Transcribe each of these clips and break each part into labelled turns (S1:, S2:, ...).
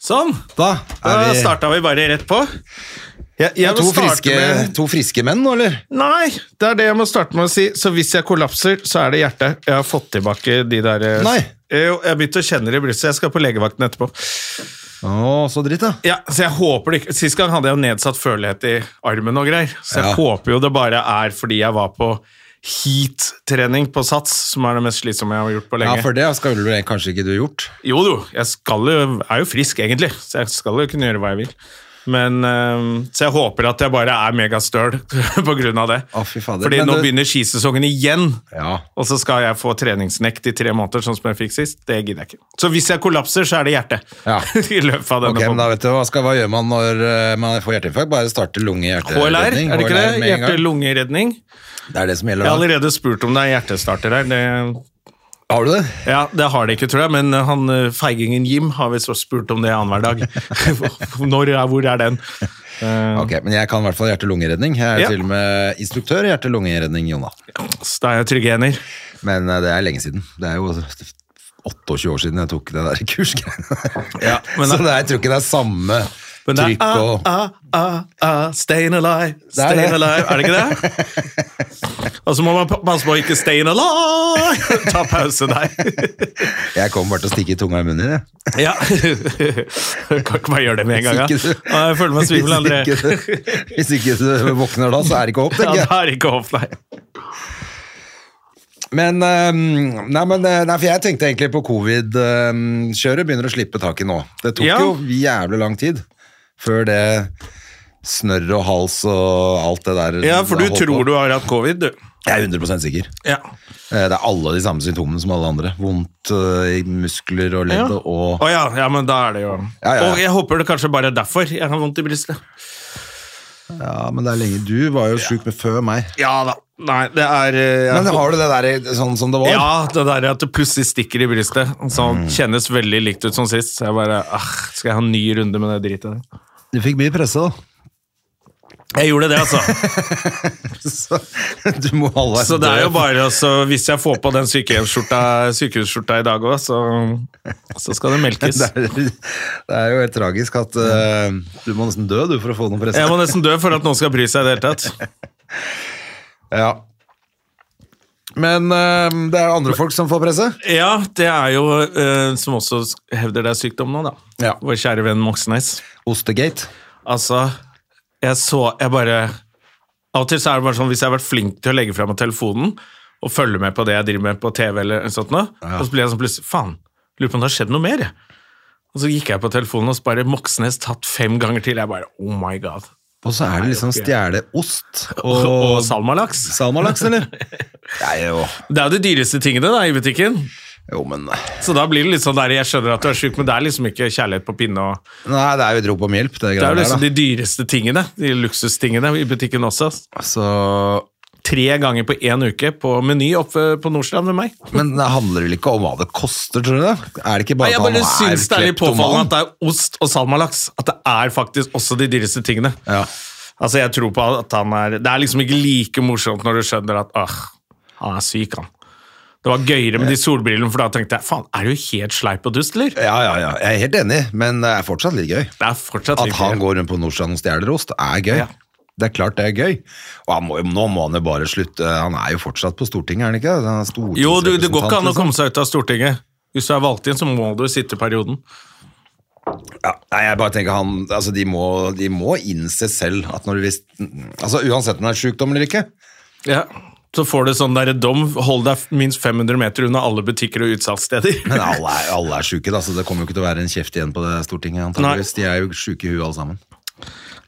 S1: Sånn!
S2: Da
S1: Da
S2: er vi
S1: starta vi bare rett på.
S2: jeg, jeg
S1: må
S2: to,
S1: starte
S2: friske,
S1: med-
S2: to friske menn nå, eller?
S1: Nei, det er det jeg må starte med å si. Så hvis jeg kollapser, så er det hjertet. Jeg har fått tilbake de der eh,
S2: Nei.
S1: Jo, jeg har begynt å kjenne det i brystet. Jeg skal på legevakten etterpå.
S2: Å, så dritt, da.
S1: Ja, så jeg håper det ikke Sist gang hadde jeg jo nedsatt førlighet i armen og greier. Så jeg
S2: Ja.
S1: håper jo det bare er fordi jeg var på heat-trening på sats, som er det mest slitsomme jeg har gjort på
S2: Ja,
S1: lenge.
S2: for det skal du kanskje ikke du gjort.
S1: Jo, jo. Jeg skal jo, er jo frisk, egentlig, så jeg skal jo kunne gjøre hva jeg vil. Men, eh, så jeg håper at jeg bare er megastøl på grunn av det.
S2: Å, fy fader.
S1: Fordi
S2: Men
S1: nå
S2: det-
S1: begynner skisesongen igjen,
S2: Ja.
S1: og så skal jeg få treningsnekt i tre måneder, sånn som jeg fikk sist. Det gidder jeg ikke. Så hvis jeg kollapser, så er det hjertet.
S2: Ja.
S1: I løpet av denne
S2: Ok, men da
S1: podden.
S2: vet du, hva, skal, hva gjør man når eh, man får hjerteinfarkt? Bare starte
S1: HLR,
S2: lunge-hjerte-redning?
S1: er det ikke det?
S2: med en gang.
S1: Hjerte-lungeredning.
S2: Det er det som
S1: Jeg har
S2: gjelder. Da.
S1: allerede spurt om det er hjertestarter her. Det,
S2: Har du det?
S1: ja, det har det ikke, tror jeg, men han eh, feigingen Jim har visst også spurt om det annenhver dag. Når er, hvor er den?
S2: Ok, men jeg kan i hvert fall hjerte-lungeredning. Jeg er
S1: Ja.
S2: til og med instruktør i hjerte-lungeredning, Jonna.
S1: Så da er jeg trygge hender.
S2: Men eh, det er lenge siden. Det er jo 28 år siden jeg tok det der kursgreiene.
S1: Ja, men
S2: Så
S1: da-
S2: det er, jeg tror ikke det er samme
S1: Men det er
S2: trykk
S1: ah,
S2: og
S1: ah, ah, ah, Staying alive,
S2: Det er
S1: staying
S2: det.
S1: alive. Er det ikke det? Og så må man pa- passe på å ikke staying alive! Ta pause der. ah.
S2: Jeg kommer bare til å stikke tunga i munnen din, jeg.
S1: Ja. Kan ikke bare gjøre det med en gang. Ja.
S2: Hvis ikke du-
S1: Ah, Jeg føler meg svimmel, André.
S2: Hvis ikke, du, hvis ikke du våkner da, så er det ikke håp,
S1: Ja,
S2: tenker
S1: det
S2: jeg.
S1: er ikke håp, nei.
S2: Men, ehm, nei, men eh, nei, for jeg tenkte egentlig på covid-kjøret begynner å slippe taket nå. Det tok
S1: Ja.
S2: jo jævlig lang tid før det snørr og hals og alt det der.
S1: Ja, for du tror du har hatt covid, du.
S2: Jeg er 100 sikker.
S1: Ja.
S2: Eh, Det er alle de samme symptomene som alle andre. Vondt eh, i muskler og ledd og
S1: Å ja, ja, men da er det jo
S2: Ja, ja, ja.
S1: Og jeg håper det kanskje bare er derfor jeg har vondt i brystet.
S2: Ja, men det er lenge. Du var jo sjuk med før meg.
S1: Ja da. Nei, det er eh, jeg
S2: Men har du det der eh, sånn som det var?
S1: Ja, det der at det plutselig stikker i brystet. Så kjennes veldig likt ut som sist. Så jeg bare, ah, skal jeg ha en ny runde med det dritet der?
S2: Du fikk mye presse, da.
S1: Jeg gjorde det, altså.
S2: Så du må halvveis
S1: Så det er jo
S2: dø.
S1: bare, altså, hvis jeg får på den sykehjemsskjorta, sykehusskjorta i dag òg, så, så skal det melkes.
S2: det er, det er jo helt tragisk at eh, du må nesten dø du for å få noen presse.
S1: Jeg må nesten dø for at noen skal bry seg i det hele tatt.
S2: Ja. Men eh, det er andre folk som får presse.
S1: Ja, det er jo eh, som også hevder det er sykdom nå, da.
S2: Ja.
S1: Vår kjære venn Moxnes.
S2: Ostegate.
S1: Altså, jeg så Jeg bare Av og til så er det bare sånn hvis jeg har vært flink til å legge fra meg telefonen og følge med på det jeg driver med på TV, eller noe sånt nå, og så blir jeg sånn plutselig Faen, lurer på om det har skjedd noe mer, jeg. Og så gikk jeg på telefonen, og så bare Moxnes tatt fem ganger til. Jeg bare Oh my god.
S2: Og så er det liksom stjele ost
S1: Og, og
S2: og
S1: salmalaks.
S2: salmalaks, eller? Det er jo
S1: Det er jo de dyreste tingene da i butikken.
S2: Jo, men eh, Nei,
S1: Så da blir det litt sånn der Jeg skjønner at du er sjuk, men det er liksom ikke kjærlighet på pinne og
S2: det er jo et rop om hjelp, det
S1: Det er jo
S2: greiene
S1: liksom
S2: der,
S1: de dyreste tingene. De luksustingene i butikken også.
S2: da. Så
S1: Tre ganger på én uke på Meny oppe på Nordstrand med meg.
S2: men det handler vel ikke om hva det koster, tror du det? Er det ikke
S1: Nei,
S2: bare
S1: jeg
S2: at han
S1: bare
S2: er
S1: syns det er litt påfallende at
S2: kleptoman?
S1: det er ost og salmalaks. At det er faktisk også de dyreste tingene.
S2: Ja.
S1: Altså, jeg tror på at han er Det er liksom ikke like morsomt når du skjønner at åh, han er syk, han. Det var gøyere med de solbrillene, for da tenkte jeg faen, er du helt sleip og dust, eller?
S2: ja, ja, ja. Jeg er helt enig, men det er fortsatt litt gøy.
S1: Det er fortsatt
S2: At
S1: litt
S2: han
S1: gøy.
S2: går rundt på Nordstrand og stjeler ost, er gøy.
S1: Ja.
S2: Det er klart det er gøy. Og han må, jo- nå må han jo bare slutte. Han er jo fortsatt på Stortinget, er han ikke? Han er stortingsrepresentant,
S1: Jo, du, det går ikke an å
S2: liksom.
S1: komme seg ut av Stortinget. Hvis du er valgt inn, så må du sitte perioden.
S2: Ja, nei, jeg bare tenker han, altså de må, de må innse selv at når du visst, altså uansett om det er sykdom eller ikke,
S1: Ja. Så får du sånn derre dom, hold deg minst 500 meter unna alle butikker og utsalgssteder.
S2: men alle er, alle er syke da, så det kommer jo ikke til å være en kjeft igjen på det Stortinget antageligvis. De er jo syke i huet alle sammen.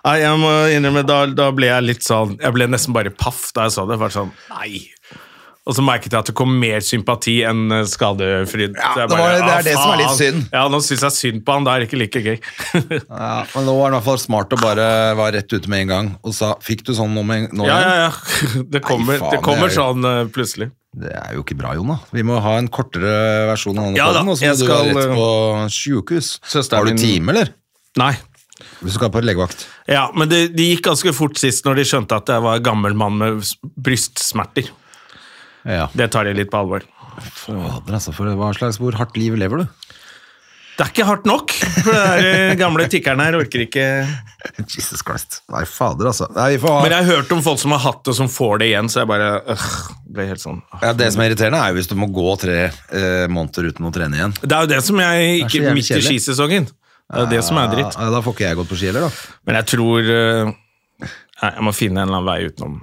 S1: Nei, jeg må innrømme, da, da ble jeg litt sånn Jeg ble nesten bare paff da jeg så det. Bare sånn, nei. Og så merket jeg at det kom mer sympati enn eh, skadefryd.
S2: Ja,
S1: Så jeg
S2: det var- det er
S1: «Ah,
S2: det som er litt
S1: faen».
S2: synd.
S1: Ja, nå syns jeg synd på han. Da er det ikke like gøy.
S2: Ja, men nå var det i hvert fall smart å bare være rett ute med en gang og sa Fikk du sånn nå med en nå
S1: ja, ja,
S2: igjen?»
S1: ja. Det kommer,
S2: Nei, faen,
S1: det kommer
S2: det er jo-
S1: sånn eh, plutselig.
S2: Det er jo ikke bra, Jon. da Vi må ha en kortere versjon av denne
S1: Ja da,
S2: podden, og så
S1: jeg
S2: må du skal,
S1: skal, øh,
S2: rett på sjukehus.
S1: Søsteren
S2: Har du
S1: min-
S2: time, eller?
S1: Nei.
S2: Hvis du skal på legevakt.
S1: Ja, men det, det gikk ganske fort sist når de skjønte at jeg var gammel mann med s- brystsmerter.
S2: Ja.
S1: Det tar de litt på alvor.
S2: Fader, altså. For hva slags hvor hardt liv lever du?
S1: Det er ikke hardt nok, for de der, eh, gamle tikkeren her orker ikke
S2: Jesus Christ. Nei, fader, altså. Nei, vi får ha
S1: Men jeg har hørt om folk som har hatt det, som får det igjen, så jeg bare øh, ble helt sånn øh.
S2: ja, Det som er irriterende, er jo hvis du må gå tre eh, måneder uten å trene igjen.
S1: Det er jo det som jeg
S2: Det er så
S1: ikke
S2: jævlig
S1: Midt i
S2: kjedelig.
S1: skisesongen. Det er jo det som er dritt.
S2: Ja, da får ikke jeg gått på ski heller, da.
S1: Men jeg tror øh, Nei, jeg må finne en eller annen vei utenom.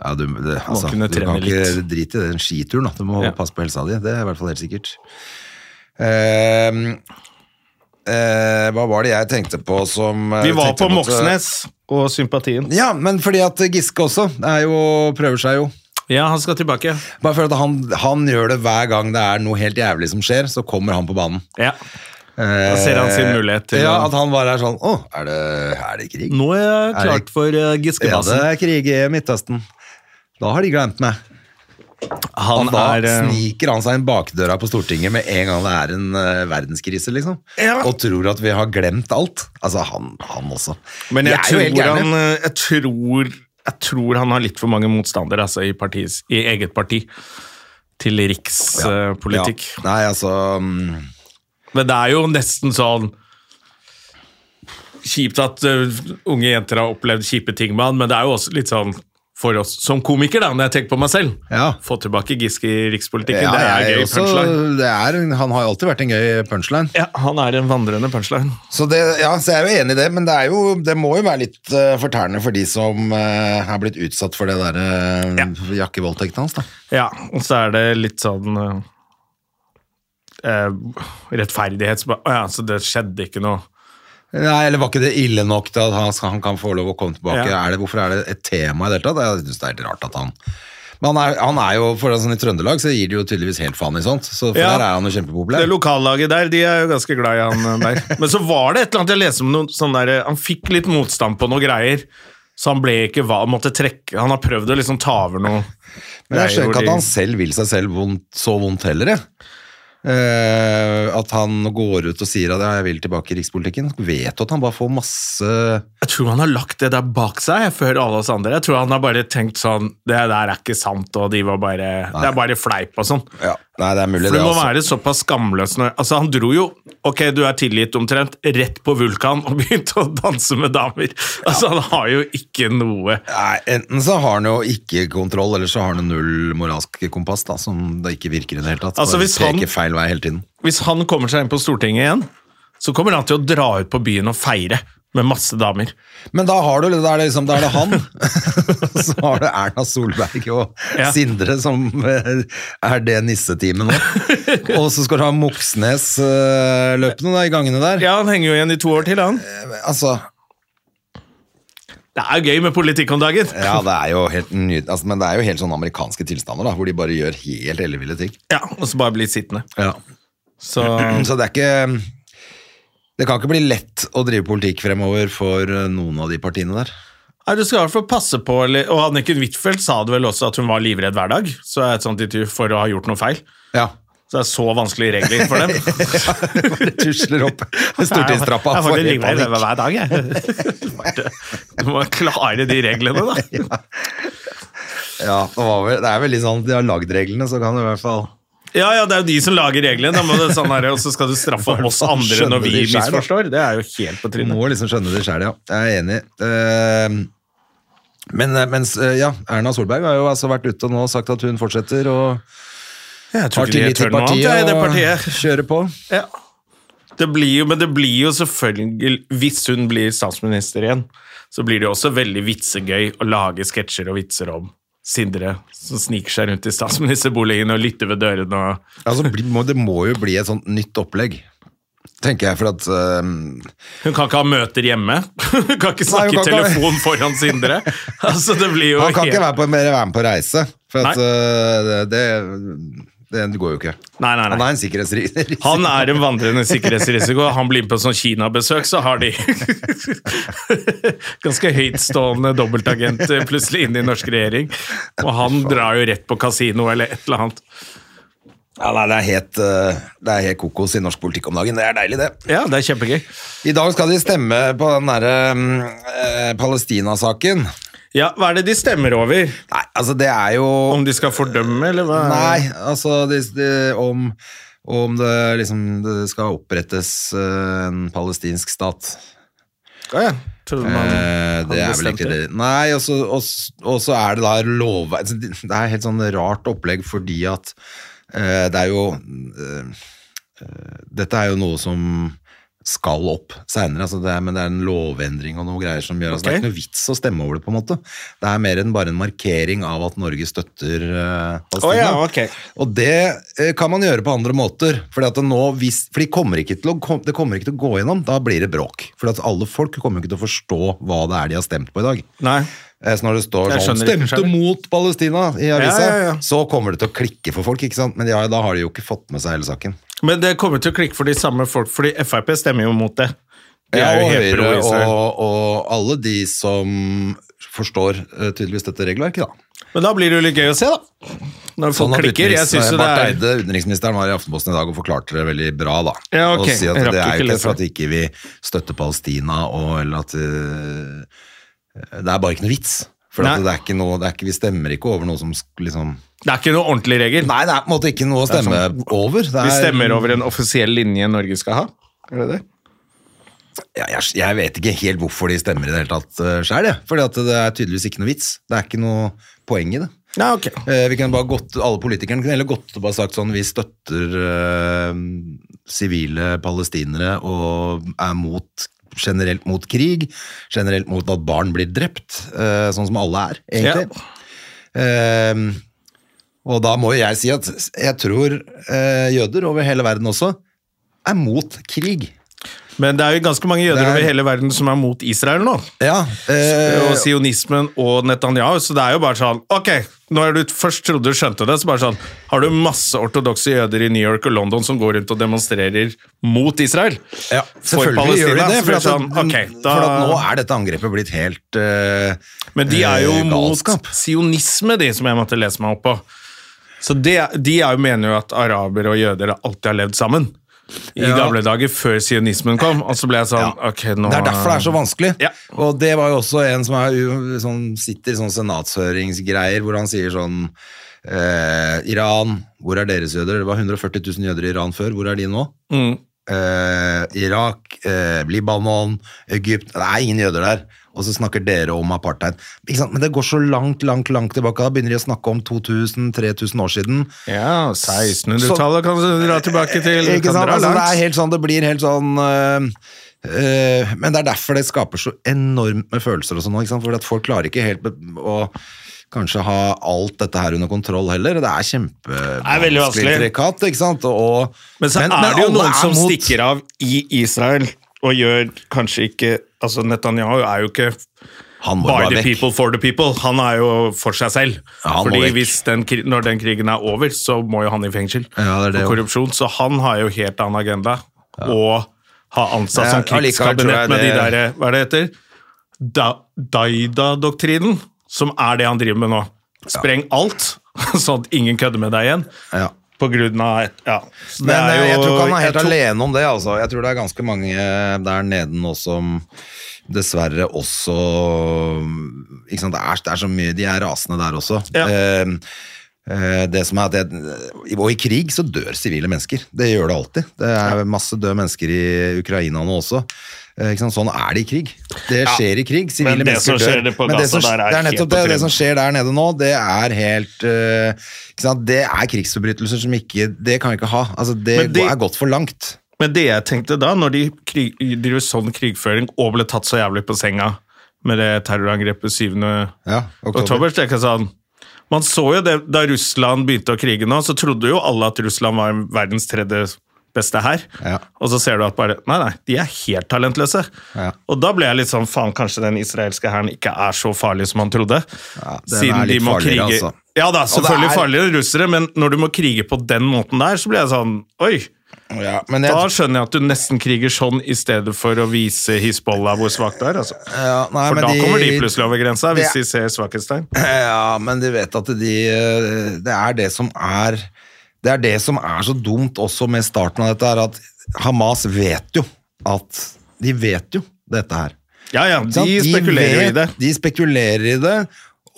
S2: Ja, du, det, altså,
S1: kunne
S2: du kan
S1: trene
S2: ikke
S1: litt.
S2: drite i den skituren. Da. Du må
S1: Ja.
S2: passe på helsa di. Det er i hvert fall helt sikkert. Ehm, eh, hva var det jeg tenkte på som eh,
S1: Vi var på
S2: tenkte at-
S1: Moxnes og sympatien.
S2: Ja, men fordi at Giske også er jo, prøver seg jo.
S1: Ja, han skal tilbake.
S2: Bare for at han, han gjør det hver gang det er noe helt jævlig som skjer, så kommer han på banen.
S1: Ja.
S2: Da
S1: ser han sin mulighet til
S2: Ja,
S1: å-
S2: at han bare er sånn Å, er det, er det krig?
S1: Nå er jeg
S2: Er det-
S1: klart for øh,
S2: Ja, det
S1: Giskebassen.
S2: er krig i Midtøsten. Da har de glemt meg.
S1: Han
S2: og da
S1: er øh,
S2: sniker han seg inn bakdøra på Stortinget med en gang det er en eh, verdenskrise, liksom.
S1: Ja.
S2: Og tror at vi har glemt alt. Altså, han, han også.
S1: Men jeg,
S2: De er jo helt
S1: tror
S2: gærne.
S1: han, øh, jeg tror jeg tror han har litt for mange motstandere altså, i, partiets, i eget parti til eh, rikspolitikk.
S2: Ja. Nei, altså mm,
S1: Men det er jo nesten sånn Kjipt at ø, unge jenter har opplevd kjipe ting med han, men det er jo også litt sånn for oss som komiker, da, når jeg tenker på meg selv.
S2: Ja.
S1: Få tilbake Giske i rikspolitikken,
S2: ja,
S1: det er
S2: jeg
S1: gøy
S2: også-
S1: punchline.
S2: det er, han har jo alltid vært en gøy punchline.
S1: Ja, han er en vandrende punchline.
S2: Så, det, ja, så jeg er jo enig i det, men det, er jo, det må jo være litt eh, fortærende for de som eh, har blitt utsatt for det derre jakkevoldtekten hans, da.
S1: Ja, og så er det litt sånn ø, eh, rettferdighets... Å ja, så det skjedde ikke noe.
S2: Nei, eller var ikke det ille nok til at han, han kan få lov å komme tilbake?
S1: Ja.
S2: Er det, hvorfor er det et tema i det hele tatt? Jeg synes det er helt rart at han Men han er, han er jo, for sånn I Trøndelag så gir de jo tydeligvis helt faen i sånt, så for
S1: Ja.
S2: der er han jo
S1: Det
S2: kjempepopulær.
S1: lokallaget der, de er jo ganske glad i han eh, der. Men så var det et eller annet jeg leste om noen sånn der eh, Han fikk litt motstand på noen greier, så han ble ikke hva Han måtte trekke Han har prøvd å liksom ta over noe.
S2: Men jeg
S1: greier
S2: skjønner
S1: hvor
S2: ikke at
S1: de-
S2: han selv vil seg selv vondt, så vondt heller, jeg. Eh, at han går ut og sier at ja, jeg vil tilbake i rikspolitikken. Vet du at han bare får masse
S1: Jeg tror han har lagt det der bak seg jeg, før alle oss andre. Jeg tror han har bare tenkt sånn Det der er ikke sant, og de var bare Det er bare fleip og sånn.
S2: ja. Nei, det er mulig,
S1: For
S2: det.
S1: du må
S2: altså.
S1: være såpass skamløs når Altså, han dro jo Ok, du er tilgitt omtrent rett på Vulkan og begynte å danse med damer. Altså, han har jo ikke noe
S2: Nei, Enten så har han jo ikke kontroll, eller så har han jo null moralsk kompass, da, som da ikke virker i det hele tatt.
S1: Altså,
S2: Bare
S1: hvis han-
S2: peker feil vei hele tiden.
S1: hvis han kommer seg inn på Stortinget igjen, så kommer han til å dra ut på byen og feire med masse damer.
S2: Men da har du, da er det liksom, da er det han. så har du Erna Solberg og
S1: Ja.
S2: Sindre, som eh, er det nissetimen nå. og så skal du ha Moxnes-løpene da, i gangene der.
S1: Ja, han henger jo igjen i to år til, han.
S2: Altså,
S1: Det er jo gøy med politikk om dagen.
S2: ja, det er jo helt ny, altså, men det er jo helt sånne amerikanske tilstander, da, hvor de bare gjør helt elleville ting.
S1: Ja, og så bare bli sittende.
S2: Ja.
S1: Så
S2: Mm, Så det er ikke Det kan ikke bli lett å drive politikk fremover for eh, noen av de partiene der.
S1: Nei, du skal i hvert fall passe på eller, Og Anniken Huitfeldt sa det vel også at hun var livredd hver dag så er et sånt intervju for å ha gjort noe feil.
S2: Ja.
S1: Så det er så vanskelige regler for dem.
S2: Bare tusler opp
S1: Jeg
S2: stortingstrappa.
S1: er faktisk
S2: får helt
S1: livredd
S2: panikk.
S1: hver dag, jeg. Bare- Du må klare de reglene, da.
S2: Ja, det, var vel, det er vel litt sånn at de har lagd reglene, så kan du i hvert fall
S1: Ja, ja, det er jo de som lager reglene, da må det sånn her, og så skal du straffe oss andre når vi
S2: Skjønner de selv, da.
S1: misforstår. Det er jo helt på
S2: Du
S1: trynet.
S2: må liksom skjønne det sjøl, ja. Jeg er enig. Eh, Men eh, mens, eh, ja, Erna Solberg har jo altså vært ute og nå sagt at hun fortsetter og
S1: Jeg tror
S2: har
S1: ikke de
S2: tillit til
S1: tør noe annet, jeg, i det
S2: partiet og
S1: partiet.
S2: kjører på.
S1: Ja. Det blir jo, men det blir jo selvfølgelig, hvis hun blir statsminister igjen, så blir det jo også veldig vitsegøy å lage sketsjer og vitser om Sindre som sniker seg rundt i statsministerboligen og lytter ved dørene og
S2: Altså, bli- må- det må jo bli et sånt nytt opplegg, tenker jeg, for at eh,
S1: Hun kan ikke ha møter hjemme. Hun kan ikke snakke
S2: Nei,
S1: i
S2: hun kan ikke ha-
S1: telefon foran Sindre. Altså, det blir jo
S2: Han kan
S1: helt-
S2: ikke være, på, mer være med på reise. For at,
S1: Nei.
S2: eh, det, det, det går jo ikke.
S1: Nei, nei, nei.
S2: Han er en sikkerhetsrisiko.
S1: Han er en vandrende sikkerhetsrisiko. Han blir med på sånn Kina-besøk, så har de ganske høytstående dobbeltagenter plutselig inne i norsk regjering. Og han drar jo rett på kasino eller et eller annet.
S2: Ja, nei, det, er helt, eh, det er helt kokos i norsk politikk om dagen. Det er deilig, det.
S1: Ja, det er kjempegøy.
S2: I dag skal de stemme på den derre eh, Palestina-saken.
S1: Ja, hva er det de stemmer over?
S2: Nei, altså, det er jo
S1: Om de skal fordømme, eller hva?
S2: Nei, altså de, de, om, om det liksom det skal opprettes eh, en palestinsk stat.
S1: Ja, ja. Tror man
S2: Eh,
S1: hadde
S2: det er vel
S1: bestemt
S2: egentlig det. Nei, og så og s- og så er det da lov... altså, Det det er helt sånn rart opplegg fordi at eh, det er jo eh, eh, Dette er jo noe som skal opp seinere, altså det er- men det er en lovendring og noe greier som gjør altså, Det er
S1: Ok.
S2: ikke noe vits å stemme over det, på en måte. Det er mer enn bare en markering av at Norge støtter eh, Palestina.
S1: Å ja, ok.
S2: Og det eh, kan man gjøre på andre måter. Fordi at det nå, hvis, for de kommer ikke til å, kom- det kommer ikke til å gå gjennom, da blir det bråk. For at alle folk kommer ikke til å forstå hva det er de har stemt på i dag.
S1: Nei.
S2: Eh, Så når det står
S1: Jeg
S2: sånn
S1: skjønner ikke
S2: 'stemte
S1: selv.
S2: mot Palestina' i avisa,
S1: Ja, ja, ja.
S2: så kommer det til å klikke for folk. ikke sant? Men ja, da har de jo ikke fått med seg hele saken.
S1: Men det kommer til å klikke for de samme folk, fordi Frp stemmer jo mot det. De
S2: Ja,
S1: er jo
S2: og
S1: helt
S2: Høyre
S1: pro-Israel.
S2: og, og alle de som forstår eh, tydeligvis dette regelverket, da.
S1: Men da blir det jo litt gøy å se, da. Når folk
S2: Sånn at
S1: klikker. Jeg synes
S2: utenriks-
S1: jo det
S2: Barth
S1: er
S2: Eide, utenriksministeren var i Aftenposten i dag og forklarte det veldig bra. da.
S1: Ja, ok.
S2: Og si at
S1: Jeg rakk jo
S2: Det
S1: ikke
S2: er jo ikke
S1: lese
S2: for at
S1: det.
S2: ikke vi støtter Palestina, og, eller at eh, Det er bare ikke noe vits. For at
S1: Nei.
S2: det er ikke noe, det er ikke, vi stemmer ikke over noe som sk- liksom
S1: Det er ikke noe ordentlig regel.
S2: Nei, det er på en måte ikke noe å stemme over. Det
S1: sånn- Vi
S2: er-
S1: stemmer over en offisiell linje Norge skal ha. Er det det?
S2: Ja, jeg, jeg vet ikke helt hvorfor de stemmer i det hele tatt uh, sjøl, jeg. Fordi at det er tydeligvis ikke noe vits. Det er ikke noe poeng i det.
S1: Ja, ok.
S2: Eh, Vi kunne bare gått, alle politikerne kunne heller gått og bare sagt sånn Vi støtter eh, sivile palestinere og er mot, generelt mot krig, generelt mot at barn blir drept, eh, sånn som alle er, egentlig. Eh, og da må jo jeg si at jeg tror eh, jøder over hele verden også er mot krig.
S1: Men det er jo ganske mange jøder
S2: Det er-
S1: over hele verden som er mot Israel nå.
S2: Ja, eh,
S1: Og sionismen og Netanyahu, så det er jo bare sånn Ok, når du først trodde du skjønte det, så bare sånn Har du masse ortodokse jøder i New York og London som går rundt og demonstrerer mot Israel?
S2: Ja,
S1: for
S2: selvfølgelig gjør de
S1: Palestina, så blir
S2: det. For, at, mm,
S1: det sånn, ok, da-
S2: for at nå er dette angrepet blitt helt eh,
S1: Men de er jo
S2: eh, galskap.
S1: mot sionisme, de som jeg måtte lese meg opp på. Så de, de er jo, mener jo at arabere og jøder alltid har levd sammen. I
S2: Ja.
S1: gamle dager, før sionismen kom. Og så ble jeg sånn
S2: Ja.
S1: ok, nå...
S2: Det er derfor det er så vanskelig.
S1: Ja.
S2: Og det var jo også en som er, u- sånn, sitter i sånn senatshøringsgreier, hvor han sier sånn eh, Iran, hvor er deres jøder? Det var 140 000 jøder i Iran før, hvor er de nå?
S1: Mm.
S2: Eh, Irak, eh, Libanon, Egypt Det er ingen jøder der. Og så snakker dere om apartheid. Ikke sant? Men det går så langt, langt langt tilbake. Da begynner de å snakke om 2000-3000 år siden.
S1: Ja, 1600-tallet kan du dra tilbake til. Du
S2: Ikke
S1: kan
S2: sant?
S1: dra
S2: Altså, det
S1: langt.
S2: er helt sånn, det blir helt sånn øh, øh, Men det er derfor det skaper så enormt med følelser og sånn, nå, ikke sant? for at folk klarer ikke helt be- å kanskje ha alt dette her under kontroll heller. Det er
S1: veldig vanskelig.
S2: kjempevanskelig intrikat, ikke sant? Og,
S1: Men så er det jo
S2: alle
S1: noen som
S2: mot-
S1: stikker av i Israel og gjør kanskje ikke Altså, Netanyahu er jo ikke
S2: Han må
S1: By
S2: bare
S1: the
S2: vekk.
S1: people for the people. Han er jo for seg selv.
S2: Ja, han må
S1: Fordi
S2: vekk.
S1: hvis den, kri- når den krigen er over, så må jo han i fengsel
S2: Ja, det er det
S1: for
S2: jo.
S1: korrupsjon. Så han har jo helt annen agenda. Og har ansatt
S2: Ja,
S1: som
S2: allikevel tror jeg
S1: krigskabinett med de
S2: det-
S1: der Hva er det heter? Da, Daida-doktrinen, som er det han driver med nå. Spreng alt, sånn at ingen kødder med deg igjen.
S2: Ja.
S1: På grunn av et, ja. Så det
S2: Men
S1: er
S2: øh, jeg
S1: jo-
S2: tror ikke han er helt
S1: jeg tror-
S2: alene om det, altså. Jeg tror det er ganske mange øh, der nede nå som dessverre også ikke sant? Det, er, det er så mye De er rasende der også.
S1: Ja.
S2: Eh, eh, det som er at det, Og i krig så dør sivile mennesker. Det gjør det alltid. Det er masse døde mennesker i Ukraina nå også. Eh, Ikke sant? Sånn er det i krig. Det skjer i krig.
S1: Men
S2: Sivile
S1: det som
S2: mennesker dør.
S1: skjer det på
S2: Men det,
S1: Gaza
S2: som,
S1: der er
S2: det er
S1: helt
S2: nettopp
S1: på
S2: det. Det
S1: trynet.
S2: som skjer der nede nå, det er helt eh, ikke sant? Det er krigsforbrytelser som ikke Det kan vi ikke ha. Altså, det
S1: Men de-
S2: er gått for langt.
S1: Men det jeg tenkte da, når de krig, driver sånn krigføring og ble tatt så jævlig på senga med det terrorangrepet 7.
S2: Ja,
S1: oktober,
S2: oktober.
S1: så tenker jeg sånn Man så jo det da Russland begynte å krige nå, så trodde jo alle at Russland var verdens tredje beste her.
S2: Ja.
S1: Og så ser du at bare Nei, nei, de er helt talentløse.
S2: Ja.
S1: Og da ble jeg litt sånn Faen, kanskje den israelske hæren ikke er så farlig som man trodde.
S2: Ja, den er litt farligere, altså.
S1: Ja da, selvfølgelig
S2: er-
S1: farligere russere, men når du må krige på den måten der, så blir jeg sånn Oi!
S2: Ja, men jeg,
S1: Da skjønner jeg at du nesten kriger sånn i stedet for å vise Hizbollah hvor svakt det er. Altså.
S2: ja, nei,
S1: For
S2: men
S1: da kommer de plutselig over grensa, hvis
S2: Det-
S1: de ser svakhetstegn.
S2: Ja, men de vet at de eh, Det er det som er Det er det som er så dumt også med starten av dette, her, at Hamas vet jo at De vet jo dette her.
S1: Ja ja,
S2: Ikke sant?
S1: de spekulerer jo i det.
S2: De spekulerer i det,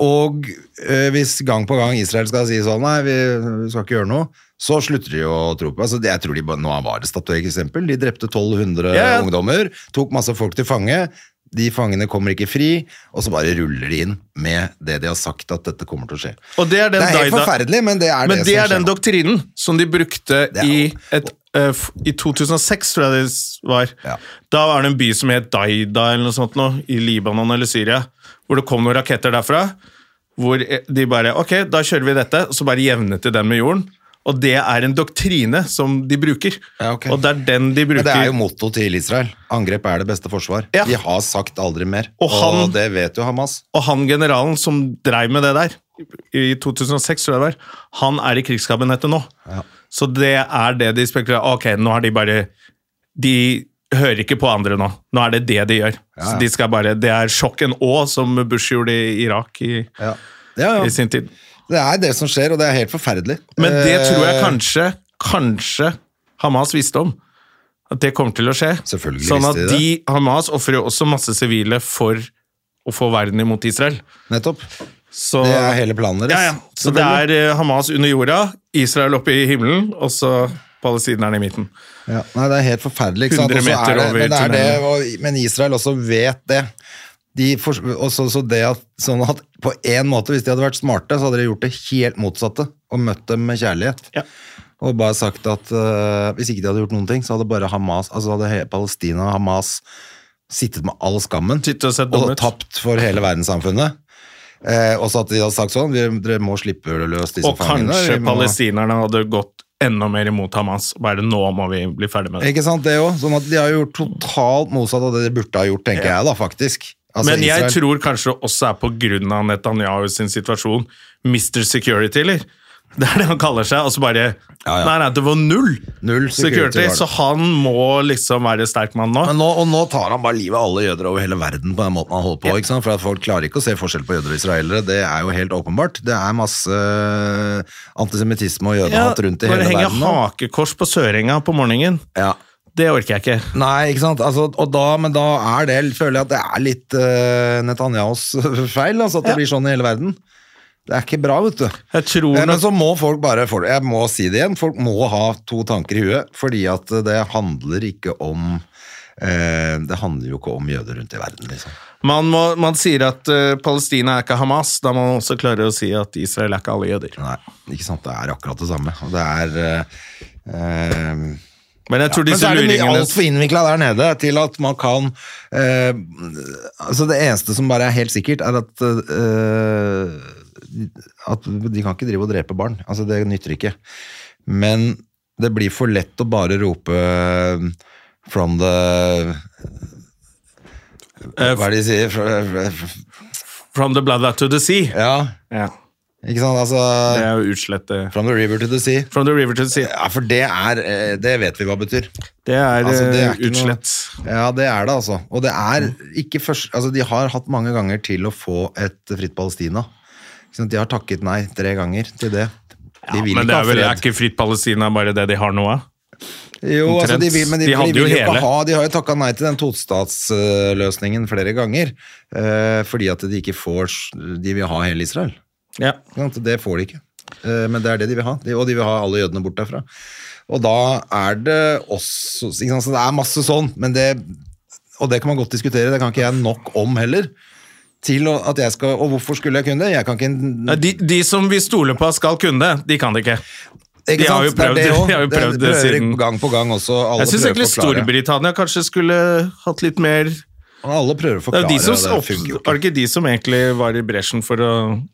S2: og eh, hvis gang på gang Israel skal si sånn Nei, vi, vi skal ikke gjøre noe, så slutter de å tro på altså, det. Jeg tror de bare, Nå var det statuer, eksempel. De drepte 1200
S1: Ja, ja.
S2: ungdommer, tok masse folk til fange. De fangene kommer ikke fri, og så bare ruller de inn med det de har sagt at dette kommer til å skje.
S1: Og det er den
S2: det er helt
S1: Daida-
S2: forferdelig, men det er
S1: Men
S2: det,
S1: det
S2: som
S1: er den
S2: skjer. nå.
S1: doktrinen som de brukte
S2: Det er
S1: i,
S2: jo-
S1: et, eh, f- i 2006, tror jeg det s- var.
S2: Ja.
S1: Da var det en by som het Daida eller noe sånt nå, i Libanon eller Syria, hvor det kom noen raketter derfra. Hvor eh, de bare Ok, da kjører vi dette, og så bare jevnet de den med jorden. Og det er en doktrine som de bruker.
S2: Ja, ok.
S1: Og det er den de
S2: Men
S1: bruker.
S2: det er jo motto til Israel. Angrep er det beste forsvar.
S1: Ja.
S2: De har sagt aldri mer,
S1: Og han-
S2: og det vet jo Hamas.
S1: Og han generalen som dreiv med det der, i 2006 tror jeg det var, han er i krigskabinettet nå. Så det er det de spekulerer Ok, nå har de bare De hører ikke på andre nå. Nå er det det de gjør. Så de skal bare, Det er sjokken òg, som Bush gjorde i Irak i,
S2: Ja. Ja, ja.
S1: i sin tid.
S2: Det er det som skjer, og det er helt forferdelig.
S1: Men det tror jeg
S2: Eh,
S1: kanskje, kanskje Hamas visste om. At det kommer til å skje.
S2: Selvfølgelig
S1: sånn at
S2: visste de
S1: de, Hamas ofrer jo også masse sivile for å få verden imot Israel.
S2: Eh, Nettopp.
S1: Så,
S2: Det er hele planen deres.
S1: Ja, ja. Så det er eh, Hamas under jorda, Israel oppe i himmelen, og så palestinerne i midten.
S2: Ja. Nei, det er helt forferdelig. Ikke sant?
S1: 100
S2: Og så er
S1: meter
S2: det,
S1: over
S2: men, det er det, og, men Israel også vet det. De for, også, så det at, sånn at på en måte, hvis de hadde vært smarte, så hadde de gjort det helt motsatte. Og møtt dem med kjærlighet.
S1: Ja.
S2: Og bare sagt at eh, hvis ikke de hadde gjort noen ting, så hadde bare Hamas, altså hadde he- Palestina og Hamas sittet med all skammen.
S1: Sittet og sett dum
S2: og
S1: ut.
S2: tapt for hele verdenssamfunnet. Eh, og så at de hadde sagt sånn, vi, dere må slippe løs disse
S1: Og
S2: fangene.
S1: kanskje
S2: vi må-
S1: palestinerne hadde gått enda mer imot Hamas. Bare nå må vi bli ferdig med det.
S2: Ikke sant, det òg. Sånn at de har gjort totalt motsatt av det de burde ha gjort, tenker jeg da, faktisk. Altså,
S1: Men jeg
S2: Israel-
S1: tror kanskje det også er på grunn av Netanyahu sin situasjon. Mr. Security, eller? Det er det han kaller seg. Og så bare
S2: ja.
S1: Nei, nei, det var null,
S2: Null security
S1: security,
S2: var det.
S1: så han må liksom være sterk mann nå.
S2: Men nå, og nå tar han bare livet av alle jøder over hele verden på den måten han holder på. ikke sant? For at folk klarer ikke å se forskjell på jøder og israelere. Det er jo helt åpenbart. Det er masse eh, antisemittisme og jødehat rundt i
S1: bare
S2: hele
S1: henge
S2: verden nå.
S1: hakekors på Sørenga på morgenen.
S2: Ja.
S1: Det orker jeg ikke.
S2: Nei, ikke sant? Altså, og da, men da er det, føler jeg at det er litt uh, Netanyahus feil, altså, at det
S1: Ja.
S2: blir sånn i hele verden. Det er ikke bra, vet du.
S1: Jeg tror
S2: Ja,
S1: nok
S2: men så må folk bare for- Jeg må si det igjen. Folk må ha to tanker i huet, fordi at det handler ikke om eh, Det handler jo ikke om jøder rundt i verden, liksom.
S1: Man, må, man sier at eh, Palestina er ikke Hamas, da må man også klare å si at Israel er ikke alle jøder.
S2: Nei, ikke sant? Det er akkurat det samme. Og det er eh, eh,
S1: Men jeg tror
S2: Men så
S1: disse
S2: er det mye
S1: luringene
S2: altfor innvikla der nede til at man kan eh, Altså, det eneste som bare er helt sikkert, er at eh, at de kan ikke drive og drepe barn. Altså, det nytter ikke. Men det blir for lett å bare rope eh, from the
S1: eh,
S2: Hva er det de sier? Fra- fra-
S1: From the bloodbath to the sea.
S2: Ja,
S1: Ja,
S2: ikke sant?
S1: det
S2: Altså,
S1: er jo utslett eh,
S2: from the river to the sea.
S1: From the river to the sea.
S2: Ja, for det er eh, Det vet vi hva betyr.
S1: Det er,
S2: Altså, det er
S1: eh,
S2: ikke noe-
S1: utslett.
S2: Ja, det er det, altså. Og det er
S1: Mm.
S2: ikke først Altså, de har hatt mange ganger til å få et fritt Palestina. Ikke sant? De har takket nei tre ganger til det. De vil
S1: Men det
S2: ikke
S1: er
S2: ha
S1: vel er
S2: fred.
S1: ikke fritt Palestina bare det de har nå av?
S2: Jo, altså, de vil, men de,
S1: De
S2: de,
S1: hadde jo
S2: vil jo ikke
S1: hele.
S2: ha De har jo takka nei til den tostatsløsningen flere ganger. eh, fordi at de ikke får De vil ha hele Israel.
S1: Ja.
S2: Ikke sant? Det får de ikke. Eh, Men det er det de vil ha, De- og de vil ha alle jødene bort derfra. Og da er det også ikke sant? Så Det er masse sånn, men det, og det kan man godt diskutere, det kan ikke jeg nok om heller. Til å- at jeg skal, og hvorfor skulle jeg kunne det? Jeg kan ikke,
S1: Ja, De, de som vi stoler på skal kunne det, de kan det ikke.
S2: ikke
S1: de har jo
S2: sant? Det er
S1: prøvd-
S2: det også.
S1: de har jo
S2: Det
S1: prøvd
S2: prøver jeg
S1: siden-
S2: gang på gang også. Alle
S1: Jeg syns
S2: prøver
S1: egentlig
S2: å forklare.
S1: Storbritannia kanskje skulle hatt litt mer Det
S2: Og Alle prøver å
S1: er,
S2: forklare,
S1: de som,
S2: og
S1: opp-
S2: det funker jo
S1: var det
S2: ikke.
S1: ikke de som egentlig var i bresjen for å